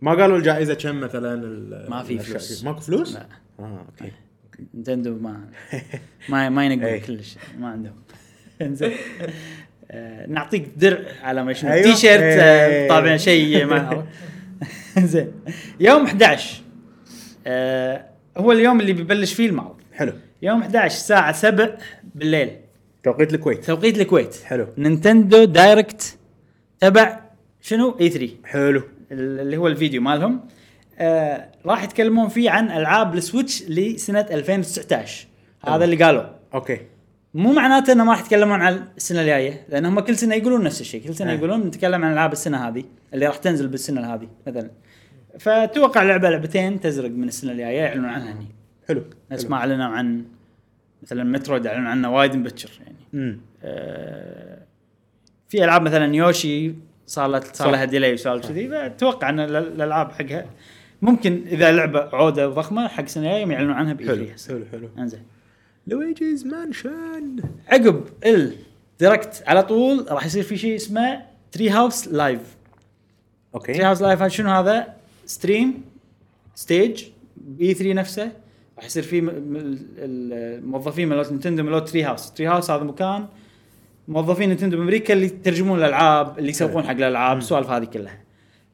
Speaker 3: ما قالوا الجائزه كم مثلا ال-
Speaker 1: ما في
Speaker 3: الأشياء
Speaker 1: فلوس.
Speaker 3: كذي. ماكو فلوس؟
Speaker 1: لا.
Speaker 3: اه اوكي
Speaker 1: نتندو ما ما ما
Speaker 3: أي.
Speaker 1: ينقون كلش ما عندهم انزين آه، نعطيك درع على ما شنو
Speaker 3: أيوة.
Speaker 1: تي شيرت آه،
Speaker 3: إيه.
Speaker 1: طبعا شيء ما أعرف. انزين يوم 11 آه، هو اليوم اللي ببلش فيه المعرض
Speaker 3: حلو
Speaker 1: يوم 11 الساعة 7 بالليل
Speaker 3: توقيت الكويت
Speaker 1: توقيت الكويت
Speaker 3: حلو.
Speaker 1: نينتندو دايركت تبع شنو؟ اي 3
Speaker 3: حلو
Speaker 1: اللي هو الفيديو مالهم آه راح يتكلمون فيه عن العاب السويتش لسنه 2019 هذا اللي قالوا
Speaker 3: اوكي
Speaker 1: مو معناته انه ما راح يتكلمون عن السنه الجايه لان هم كل سنه يقولون نفس الشيء كل سنه
Speaker 3: أي.
Speaker 1: يقولون نتكلم عن العاب السنه هذه اللي راح تنزل بالسنه هذه مثلا فتوقع لعبه لعبتين تزرق من السنه الجايه يعلنون عنها هني
Speaker 3: حلو
Speaker 1: نفس
Speaker 3: حلو.
Speaker 1: ما اعلنوا عن مثلا مترويد اعلنوا عنه وايد مبكر يعني
Speaker 3: امم
Speaker 1: آه، في العاب مثلا يوشي صارت صار
Speaker 3: صح.
Speaker 1: لها ديلي وسوالف كذي فاتوقع ان ال- الالعاب حقها ممكن اذا لعبه عوده ضخمه حق سنه جايه يعلنون عنها
Speaker 3: حلو
Speaker 1: باي
Speaker 3: حلو حلو
Speaker 1: انزين
Speaker 3: لويجيز مانشن
Speaker 1: عقب الديركت على طول راح يصير في شيء اسمه تري هاوس لايف تري
Speaker 3: اوكي
Speaker 1: هاوس لايف شنو هذا؟ ستريم ستيج بي 3 E نفسه راح يصير فيه م- م- ال- الموظفين مالت نينتندو مالت تري هاوس، تري هاوس هذا مكان موظفين نينتندو بامريكا اللي يترجمون الالعاب اللي يسوقون حق الالعاب السوالف هذه كلها.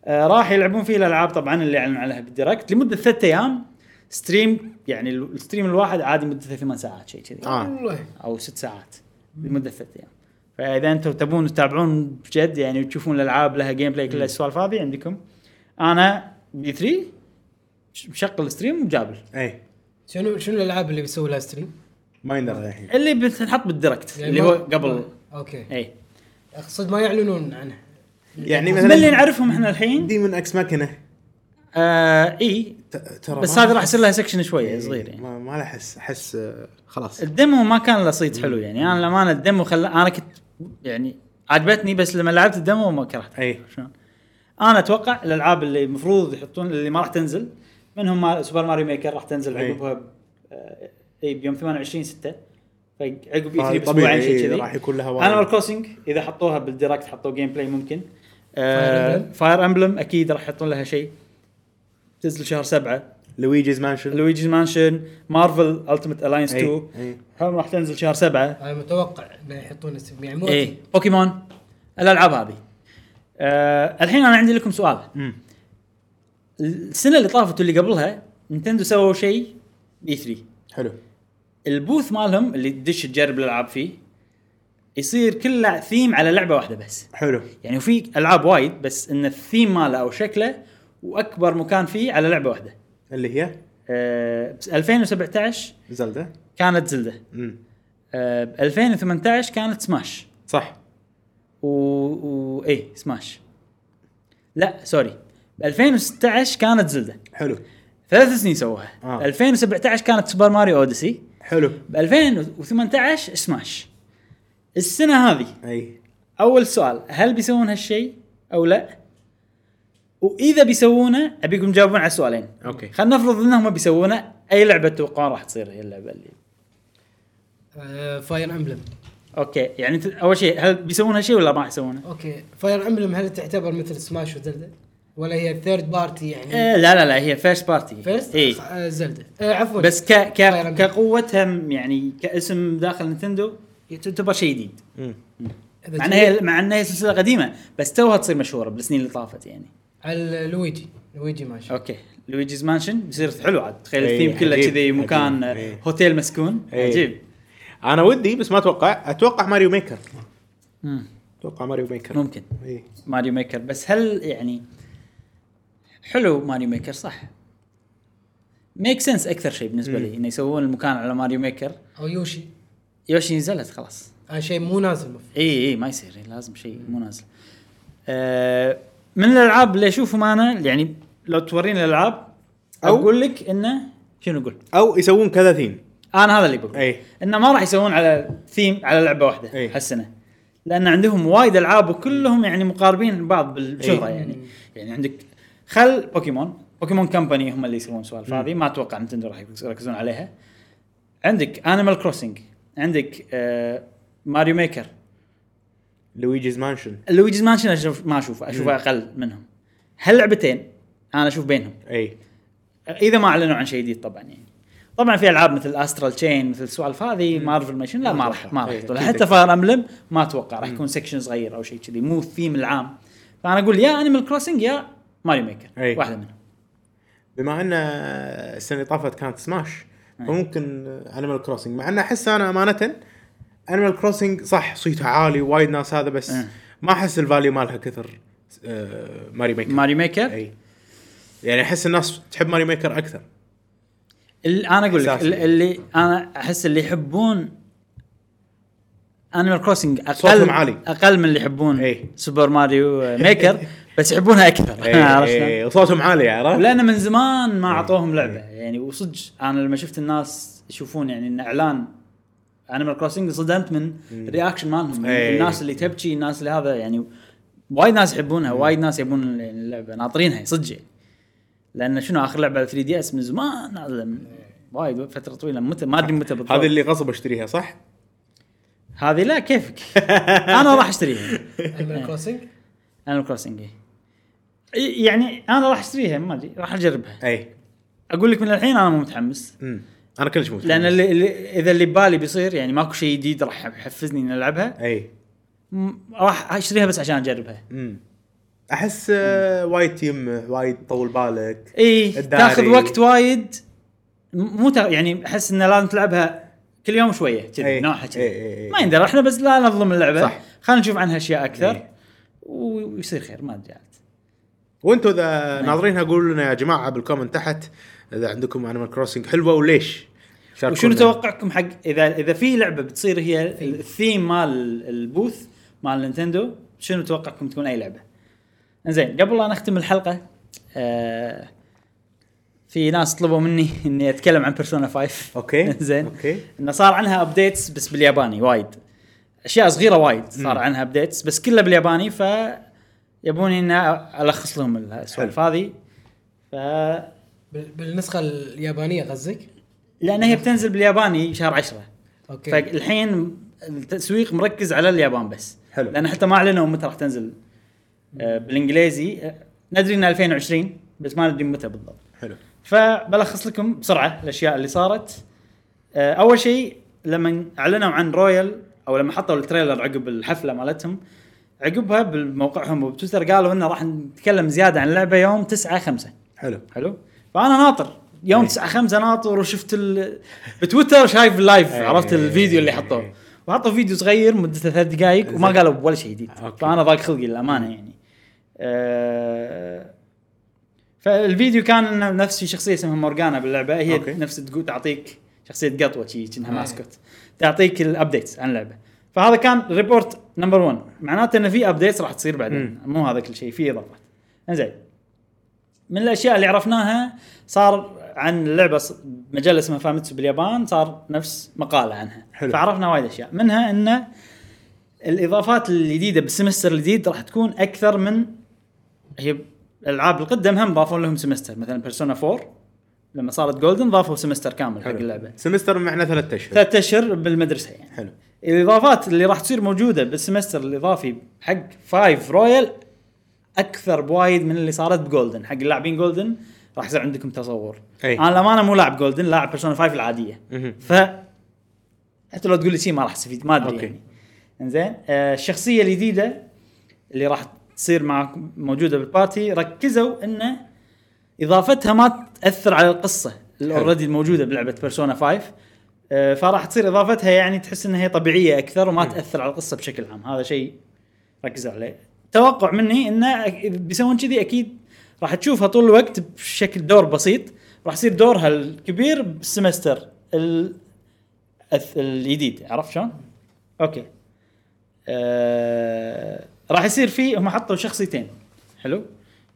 Speaker 1: آه راح يلعبون فيه الالعاب طبعا اللي اعلنوا عنها بالديركت لمده ثلاث ايام ستريم يعني ال- الستريم الواحد عادي مدته ثمان ساعات شيء كذي
Speaker 3: آه.
Speaker 2: والله
Speaker 1: او ست ساعات لمده ثلاث ايام فاذا انتم تبون تتابعون بجد يعني وتشوفون الالعاب لها جيم بلاي كل السوالف هذه عندكم انا بي 3 مشغل الستريم وجابل
Speaker 3: اي
Speaker 2: شنو شنو الالعاب اللي بيسوي لها ستريم؟
Speaker 3: ما يندرى الحين
Speaker 1: اللي بتنحط بالديركت
Speaker 3: يعني
Speaker 1: اللي هو قبل
Speaker 2: اوكي
Speaker 1: اي
Speaker 2: اقصد ما يعلنون عنها
Speaker 3: يعني
Speaker 1: من اللي
Speaker 3: مثلا
Speaker 1: نعرفهم احنا الحين
Speaker 3: ديمون اكس ماكينه
Speaker 1: آه اي
Speaker 3: ت- ترى
Speaker 1: بس
Speaker 3: ما إيه.
Speaker 1: هذه راح
Speaker 3: أحس-
Speaker 1: يصير لها سكشن شويه
Speaker 3: إي،
Speaker 1: صغير يعني
Speaker 3: ما ما له احس احس آه، خلاص
Speaker 1: الديمو ما كان له صيت حلو يعني انا الامانه الديمو خل انا كنت يعني عجبتني بس لما لعبت الديمو ما كرهتها
Speaker 3: اي
Speaker 1: شلون؟ انا اتوقع الالعاب اللي المفروض يحطون اللي ما راح تنزل منهم ما- سوبر ماريو ميكر راح تنزل
Speaker 3: أي.
Speaker 1: عقبها ب- آه، اي بيوم 28 6 فعقب اي 3
Speaker 3: طبيعي،
Speaker 1: باسبوعين شيء
Speaker 3: إي،
Speaker 1: كذي
Speaker 3: راح يكون لها وايد.
Speaker 1: انيمال كروسنج اذا حطوها بالديركت حطوا جيم بلاي ممكن آه،
Speaker 2: Fire Emblem.
Speaker 1: فاير امبلم اكيد راح يحطون لها شيء تنزل شهر سبعة
Speaker 3: لويجيز مانشن
Speaker 1: لويجيز مانشن مارفل التيمت الاينس
Speaker 3: أي،
Speaker 1: 2
Speaker 3: أي.
Speaker 1: هم راح تنزل شهر سبعة
Speaker 2: انا متوقع انه يحطون ستريم يعني مو
Speaker 1: ايه بوكيمون الالعاب هذه آه الحين انا عندي لكم سؤال
Speaker 3: مم.
Speaker 1: السنه اللي طافت واللي قبلها نتندو سووا شيء بي 3
Speaker 3: حلو
Speaker 1: البوث مالهم اللي تدش تجرب الالعاب فيه يصير كله ثيم على لعبه واحده بس
Speaker 3: حلو
Speaker 1: يعني في العاب وايد بس ان الثيم ماله او شكله واكبر مكان فيه على لعبه واحده
Speaker 3: اللي هي
Speaker 1: آه بس 2017
Speaker 3: زلدة
Speaker 1: كانت زلده
Speaker 3: امم
Speaker 1: آه ب 2018 كانت سماش
Speaker 3: صح
Speaker 1: و... و... ايه سماش لا سوري ب 2016 كانت زلده
Speaker 3: حلو
Speaker 1: ثلاث سنين سووها
Speaker 3: آه.
Speaker 1: آه. 2017 كانت سوبر ماريو اوديسي
Speaker 3: حلو
Speaker 1: ب 2018 سماش السنه هذه
Speaker 3: اي
Speaker 1: اول سؤال هل بيسوون هالشيء او لا واذا بيسوونه ابيكم تجاوبون على سؤالين
Speaker 3: اوكي
Speaker 1: خلينا نفرض انهم بيسوونه اي لعبه تتوقعون راح تصير هي اللعبه اللي
Speaker 2: فاير امبلم
Speaker 1: اوكي يعني انت- اول شيء هل بيسوون هالشيء ولا ما راح يسوونه
Speaker 2: اوكي فاير امبلم هل تعتبر مثل سماش وزلدا؟ ولا هي ثيرد بارتي يعني
Speaker 1: آه لا لا لا هي فيرست بارتي
Speaker 2: فيرست
Speaker 1: اي
Speaker 2: آه زلده آه عفوا
Speaker 1: بس ك
Speaker 2: Fire
Speaker 1: ك
Speaker 2: Emblem.
Speaker 1: كقوتها م- يعني كاسم داخل نينتندو تعتبر شيء جديد
Speaker 2: إذا
Speaker 1: مع انها هي- مع انها هي سلسله قديمه بس توها تصير مشهوره بالسنين اللي طافت يعني
Speaker 2: على لويجي لويجي ماشي
Speaker 1: اوكي لويجيز مانشن بيصير حلو عاد تخيل
Speaker 3: إي،
Speaker 1: الثيم كله
Speaker 3: عجيب،
Speaker 1: كذي
Speaker 3: عجيب،
Speaker 1: مكان
Speaker 3: إي.
Speaker 1: هوتيل مسكون
Speaker 3: إي.
Speaker 1: عجيب
Speaker 3: انا ودي بس ما اتوقع اتوقع ماريو ميكر
Speaker 1: مم.
Speaker 3: اتوقع ماريو ميكر إيه.
Speaker 1: ممكن
Speaker 3: اي
Speaker 1: ماريو ميكر بس هل يعني حلو ماريو ميكر صح ميك سنس اكثر شيء بالنسبه لي انه يسوون المكان على ماريو ميكر
Speaker 2: او يوشي
Speaker 1: يوشي نزلت خلاص
Speaker 2: آه شيء مو نازل مف-
Speaker 1: اي اي ما يصير لازم شيء مو نازل آه من الالعاب اللي اشوفهم انا يعني لو توريني الالعاب
Speaker 3: أو-
Speaker 1: اقول لك انه شنو اقول؟
Speaker 3: او يسوون كذا ثيم إيه.
Speaker 1: انا هذا اللي بقول
Speaker 3: إي.
Speaker 1: انه ما راح يسوون على ثيم على لعبه واحده
Speaker 3: إي.
Speaker 1: هالسنه لان عندهم وايد العاب وكلهم يعني مقاربين لبعض بالشهره
Speaker 3: إي.
Speaker 1: يعني يعني عندك خل بوكيمون بوكيمون كمباني هم اللي يسوون سوالف هذه ما اتوقع نتندو راح يركزون عليها عندك انيمال كروسنج عندك آه ماريو ميكر
Speaker 3: لويجيز مانشن
Speaker 1: لويجيز مانشن اشوف ما اشوف اشوفه اقل منهم هاللعبتين انا اشوف بينهم
Speaker 3: اي
Speaker 1: اذا ما اعلنوا عن شيء جديد طبعا يعني طبعا في العاب مثل استرال تشين مثل السوالف هذه مارفل ميشن لا ما راح ما راح
Speaker 3: إيه،
Speaker 1: يطلع
Speaker 3: أكيد
Speaker 1: حتى فاير امبلم ما اتوقع راح يكون سكشن صغير او شيء كذي مو الثيم العام فانا اقول يا انيمال كروسنج يا ماريو ميكر
Speaker 3: إيه.
Speaker 1: واحده منهم
Speaker 3: بما ان السنه اللي طافت كانت سماش
Speaker 1: إيه.
Speaker 3: فممكن انيمال كروسنج مع ان احس انا امانه انيمال كروسنج صح صيتها عالي وايد ناس هذا بس
Speaker 1: أه.
Speaker 3: ما احس الفاليو مالها كثر آه، ماريو ميكر
Speaker 1: ماريو ميكر
Speaker 3: اي يعني احس الناس تحب ماري ميكر اكثر
Speaker 1: ال- انا اقول لك
Speaker 3: إحساسي.
Speaker 1: ال- اللي انا احس اللي يحبون انيمال كروسنج اقل
Speaker 3: صوتهم عالي.
Speaker 1: اقل من اللي يحبون
Speaker 3: إيه.
Speaker 1: سوبر ماريو ميكر بس يحبونها اكثر عرفت شلون؟
Speaker 3: اي إيه. وصوتهم عالي عرفت؟
Speaker 1: ولان من زمان
Speaker 3: أه.
Speaker 1: ما اعطوهم لعبه
Speaker 3: إيه.
Speaker 1: يعني وصدق انا لما شفت الناس يشوفون يعني ان اعلان انيمال كروسنج انصدمت من الرياكشن مالهم من
Speaker 3: إيه.
Speaker 1: الناس اللي تبكي الناس اللي هذا يعني وايد ناس يحبونها وايد ناس يبون يعني اللعبه ناطرينها صدق يعني. لان شنو اخر لعبه 3 دي اس من زمان نازلة من- وايد فتره طويله متى ما ادري متى بالضبط
Speaker 3: هذه اللي غصب اشتريها صح؟
Speaker 1: هذه لا كيفك انا راح اشتريها
Speaker 2: انيمال كروسنج
Speaker 1: انيمال كروسنج إيه. يعني انا راح اشتريها ما ادري راح اجربها
Speaker 3: اي
Speaker 1: اقول لك من الحين انا مو متحمس
Speaker 3: أمم. انا كلش متحمس
Speaker 1: لان اللي اللي اذا اللي ببالي بيصير يعني ماكو شيء جديد راح يحفزني اني العبها
Speaker 3: اي
Speaker 1: م- راح اشتريها بس عشان اجربها
Speaker 3: أمم. احس آه، وايد يمه وايد طول بالك
Speaker 1: اي
Speaker 3: الداري.
Speaker 1: تاخذ وقت وايد م- مو تا- يعني احس انه لازم تلعبها كل يوم شويه كذي
Speaker 3: إي.
Speaker 1: نوعها
Speaker 3: إي إي
Speaker 1: كذي
Speaker 3: إي.
Speaker 1: ما يندرى احنا بس لا نظلم اللعبه
Speaker 3: صح.
Speaker 1: خلينا نشوف عنها اشياء اكثر
Speaker 3: إي.
Speaker 1: و- ويصير خير ما ادري عاد
Speaker 3: وانتم اذا ناظرينها قولوا لنا يا جماعه بالكومنت تحت اذا عندكم انيمال كروسنج حلوه وليش؟ شاركونا.
Speaker 1: وشنو توقعكم حق اذا اذا في لعبه بتصير هي الثيم مال البوث مال نينتندو شنو توقعكم تكون اي لعبه؟ زين قبل لا نختم الحلقه آه في ناس طلبوا مني اني اتكلم عن بيرسونا 5
Speaker 3: اوكي
Speaker 1: زين
Speaker 3: اوكي
Speaker 1: انه صار عنها ابديتس بس بالياباني وايد اشياء صغيره وايد صار عنها ابديتس بس كلها بالياباني ف يبوني اني الخص لهم السوالف هذه ف
Speaker 2: بال- بالنسخه اليابانيه قصدك؟
Speaker 1: لان هي بتنزل بالياباني شهر 10
Speaker 2: اوكي
Speaker 1: فالحين التسويق مركز على اليابان بس
Speaker 3: حلو.
Speaker 1: لان حتى ما اعلنوا متى راح تنزل آه، بالانجليزي آه، ندري انها 2020 بس ما ندري متى بالضبط
Speaker 3: حلو
Speaker 1: فبلخص لكم بسرعه الاشياء اللي صارت آه، اول شيء لما اعلنوا عن رويال او لما حطوا التريلر عقب الحفله مالتهم عقبها بموقعهم وبتويتر قالوا انه راح نتكلم زياده عن اللعبه يوم 9 5
Speaker 3: حلو إيه.
Speaker 1: حلو فانا ناطر يوم 9 5 ناطر وشفت ال... بتويتر شايف اللايف
Speaker 3: إيه.
Speaker 1: عرفت الفيديو اللي حطوه وحطوا فيديو صغير مدته ثلاث دقائق وما قالوا ولا شيء جديد
Speaker 3: إيه. أوكي.
Speaker 1: فانا ضاق خلقي للامانه يعني آه، فالفيديو كان انه نفس في شخصيه اسمها مورجانا باللعبه هي
Speaker 3: أوكي.
Speaker 1: نفس تقول تعطيك شخصيه قطوه شي كأنها
Speaker 2: إيه.
Speaker 1: ماسكوت تعطيك الابديتس عن اللعبه فهذا كان ريبورت نمبر 1 معناته انه في ابديتس راح تصير بعدين مو هذا كل شيء في اضافات انزين من الاشياء اللي عرفناها صار عن اللعبه ص- مجله اسمها فاميتسو باليابان صار نفس مقاله عنها
Speaker 3: حلو.
Speaker 1: فعرفنا وايد اشياء منها ان الاضافات الجديده بالسمستر الجديد راح تكون اكثر من هي الالعاب القدم هم ضافوا لهم سمستر مثلا بيرسونا 4 لما صارت جولدن ضافوا سمستر كامل حق اللعبه
Speaker 3: سمستر معناه ثلاث اشهر
Speaker 1: ثلاث اشهر بالمدرسه يعني
Speaker 3: حلو
Speaker 1: الاضافات اللي راح تصير موجوده بالسمستر الاضافي حق فايف رويال اكثر بوايد من اللي صارت بجولدن حق اللاعبين جولدن راح يصير عندكم تصور
Speaker 3: أي.
Speaker 1: انا للامانه مو لاعب جولدن لاعب بيرسونا 5 العاديه
Speaker 3: مهم.
Speaker 1: ف حتى لو تقول لي شيء ما راح استفيد ما ادري
Speaker 3: أوكي.
Speaker 1: يعني انزين آه الشخصيه الجديده اللي راح تصير معكم موجوده بالبارتي ركزوا انه اضافتها ما تاثر على القصه
Speaker 3: حلو.
Speaker 1: الاوريدي الموجوده بلعبه بيرسونا 5 آه، فراح تصير اضافتها يعني تحس انها هي طبيعيه اكثر وما تاثر على القصه بشكل عام هذا شيء ركزوا عليه توقع مني انه أك- بيسوون كذي اكيد راح تشوفها طول الوقت بشكل دور بسيط راح يصير دورها الكبير بالسمستر ال- الث- الجديد عرفت شلون؟ اوكي آه راح يصير في هم حطوا شخصيتين حلو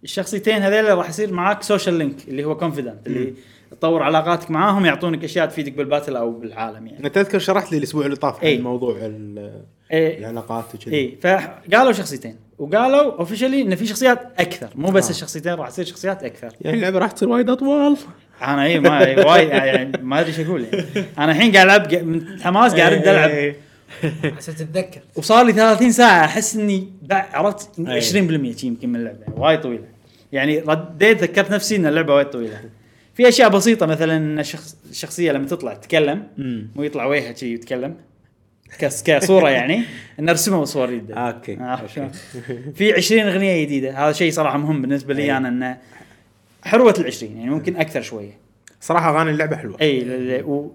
Speaker 1: الشخصيتين هذيلا راح يصير معاك سوشيال لينك اللي هو كونفيدنت اللي تطور علاقاتك معاهم يعطونك اشياء تفيدك بالباتل او بالعالم يعني
Speaker 3: أنا تذكر شرحت لي الاسبوع اللي طاف
Speaker 1: أي.
Speaker 3: عن موضوع ال- آه،
Speaker 1: إيه
Speaker 3: العلاقات وكذا
Speaker 1: اي فقالوا شخصيتين وقالوا اوفشلي ان في شخصيات اكثر مو بس
Speaker 3: آه.
Speaker 1: الشخصيتين راح يصير شخصيات اكثر
Speaker 3: يعني اللعبه راح تصير وايد اطول
Speaker 1: انا اي ما إي وايد يعني ما ادري ايش اقول يعني انا الحين قاعد العب قا- من الحماس قاعد ارد العب
Speaker 2: عشان تتذكر
Speaker 1: وصار لي 30 ساعه احس اني بع- عرفت
Speaker 3: أي.
Speaker 1: 20% شي يمكن من اللعبه يعني وايد طويله يعني رديت ذكرت نفسي ان اللعبه وايد طويله في اشياء بسيطه مثلا ان الشخص الشخصيه لما تطلع تتكلم
Speaker 3: أمم.
Speaker 1: مو يطلع وجهها شي يتكلم كس- كصوره يعني ان ارسمها بصور جدا
Speaker 3: اوكي
Speaker 1: عرفت آه، شلون؟ في 20 اغنيه جديده هذا شيء صراحه مهم بالنسبه لي انا انه حروه ال 20 يعني ممكن اكثر شويه
Speaker 3: صراحه اغاني اللعبه حلوه
Speaker 1: اي ل- ل- و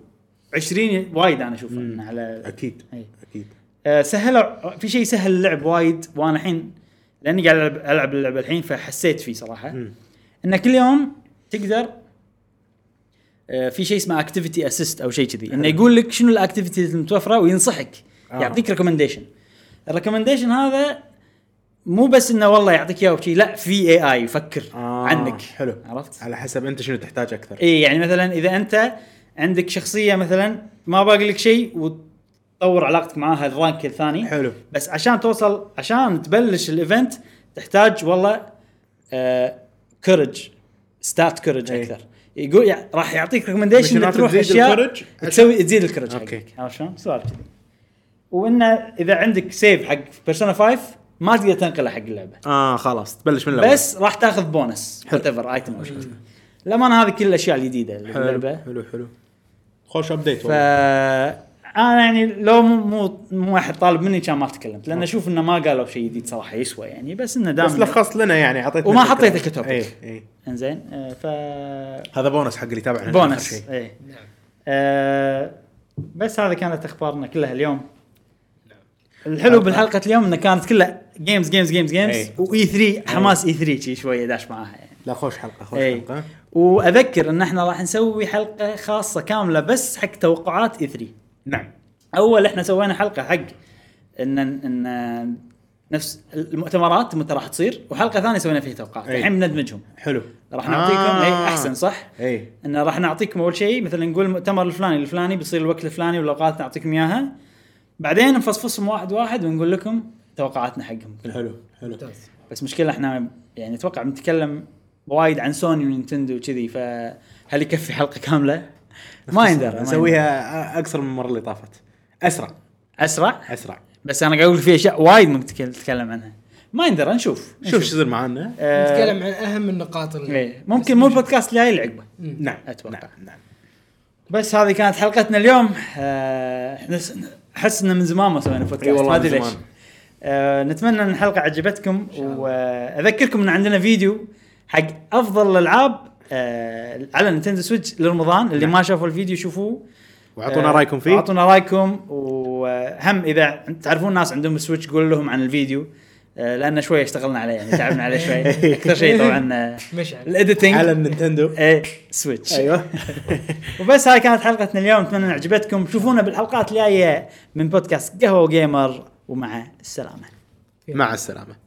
Speaker 1: 20 وايد انا اشوفها إنه على
Speaker 3: اكيد
Speaker 1: أي.
Speaker 3: اكيد
Speaker 1: آه، سهل في شيء سهل اللعب وايد وانا الحين لاني قاعد العب العب اللعبه الحين فحسيت فيه صراحه
Speaker 3: مم.
Speaker 1: ان كل يوم تقدر آه، في شيء اسمه اكتيفيتي اسيست او شيء كذي انه يقول لك شنو الاكتيفيتيز المتوفره وينصحك
Speaker 3: آه.
Speaker 1: يعطيك ريكومنديشن الريكومنديشن هذا مو بس انه والله يعطيك اياه وشي لا في اي اي يفكر
Speaker 3: آه،
Speaker 1: عنك
Speaker 3: حلو.
Speaker 1: عرفت
Speaker 3: على حسب انت شنو تحتاج اكثر
Speaker 1: اي يعني مثلا اذا انت عندك شخصيه مثلا ما باقي لك شيء وتطور علاقتك معاها الرانك الثاني
Speaker 3: حلو.
Speaker 1: بس عشان توصل عشان تبلش الايفنت تحتاج والله آه كورج ستات كورج
Speaker 3: إي.
Speaker 1: اكثر يقول يعني راح يعطيك ريكومنديشن انك
Speaker 3: مشينات
Speaker 1: تروح
Speaker 3: إيه. تزيد
Speaker 1: اشياء
Speaker 3: الكورج عشان-
Speaker 1: تسوي تزيد الكورج
Speaker 3: أوكي.
Speaker 1: حقك عرفت شلون؟ سؤال كذي وانه اذا عندك سيف حق بيرسونا 5 ما تقدر تنقله حق اللعبه
Speaker 3: اه خلاص تبلش من الاول
Speaker 1: بس راح تاخذ بونس وات ايفر ايتم او شيء للامانه هذه كل الاشياء الجديده اللي
Speaker 3: حلو
Speaker 1: باللعبه
Speaker 3: حلو حلو خوش ابديت
Speaker 1: ف
Speaker 3: والله
Speaker 1: انا يعني لو مو مو مو واحد طالب مني كان ما تكلمت لان اشوف انه ما قالوا شيء جديد صراحه يسوى يعني بس انه
Speaker 3: بس
Speaker 1: دام
Speaker 3: لخصت لنا يعني إيه، اعطيتنا
Speaker 1: وما
Speaker 3: فكرة.
Speaker 1: حطيته كتوبيك.
Speaker 3: اي اي
Speaker 1: انزين آه، ف
Speaker 3: هذا بونس حق اللي تابعنا
Speaker 1: بونس
Speaker 3: يعني آخر شيء.
Speaker 1: ايه
Speaker 2: نعم
Speaker 1: آه، بس هذه كانت اخبارنا كلها اليوم الحلو بالحلقه اليوم انه كانت كلها جيمز جيمز جيمز جيمز
Speaker 3: إيه.
Speaker 1: واي 3 حماس اي 3 شي شويه داش معاها يعني
Speaker 3: لا خوش حلقه خوش
Speaker 1: إي.
Speaker 3: حلقه
Speaker 1: واذكر ان احنا راح نسوي حلقه خاصه كامله بس حق توقعات اي 3
Speaker 3: نعم
Speaker 1: اول احنا سوينا حلقه حق ان ان نفس المؤتمرات متى راح تصير وحلقه ثانيه سوينا فيها توقعات
Speaker 3: أي.
Speaker 1: الحين بندمجهم
Speaker 3: حلو
Speaker 1: راح نعطيكم آه.
Speaker 3: آه. إيه.
Speaker 1: اي احسن صح؟
Speaker 3: اي
Speaker 1: ان راح نعطيكم اول شيء مثلا نقول المؤتمر الفلاني الفلاني بيصير الوقت الفلاني والاوقات نعطيكم اياها بعدين نفصفصهم واحد واحد ونقول لكم توقعاتنا حقهم كلها.
Speaker 3: حلو حلو
Speaker 2: ممتاز
Speaker 1: بس مشكله احنا يعني اتوقع بنتكلم وايد عن سوني ونينتندو وكذي فهل يكفي حلقه كامله؟ ما يندر ما يندر.
Speaker 3: نسويها اكثر من المره اللي طافت اسرع
Speaker 1: اسرع
Speaker 3: اسرع
Speaker 1: بس انا قاعد اقول في اشياء وايد ممكن تك- تتكلم عنها ما يندر نشوف
Speaker 3: شوف شو يصير معانا
Speaker 1: آه،
Speaker 2: نتكلم عن اهم النقاط اللي
Speaker 1: إيه، ممكن مو البودكاست الجاي اللي عقبه
Speaker 3: نعم
Speaker 1: أتوقع.
Speaker 3: نعم نعم
Speaker 1: بس هذه كانت حلقتنا اليوم آه، احنا س- احس ان من زمان ما سوينا
Speaker 3: إي
Speaker 1: بودكاست
Speaker 3: والله
Speaker 1: ما
Speaker 3: من
Speaker 1: ادري ليش
Speaker 3: زمان.
Speaker 1: آه، نتمنى ان الحلقه عجبتكم واذكركم ان عندنا فيديو حق افضل الالعاب آه، على نينتندو سويتش لرمضان اللي ما شافوا الفيديو شوفوه
Speaker 3: واعطونا
Speaker 1: آه،
Speaker 3: رايكم نعم. فيه
Speaker 1: اعطونا رايكم وهم اذا تعرفون ناس عندهم سويتش قولوا لهم عن الفيديو آه، لان شوي اشتغلنا عليه يعني تعبنا عليه شوي اكثر شيء طبعا آه،
Speaker 2: مشعل
Speaker 3: على
Speaker 1: الايديتنج
Speaker 3: النينتندو
Speaker 1: ايه سويتش
Speaker 3: ايوه
Speaker 1: وبس هاي كانت حلقتنا اليوم اتمنى ان عجبتكم شوفونا بالحلقات الجايه من بودكاست قهوه وجيمر ومع السلامه
Speaker 3: مع السلامه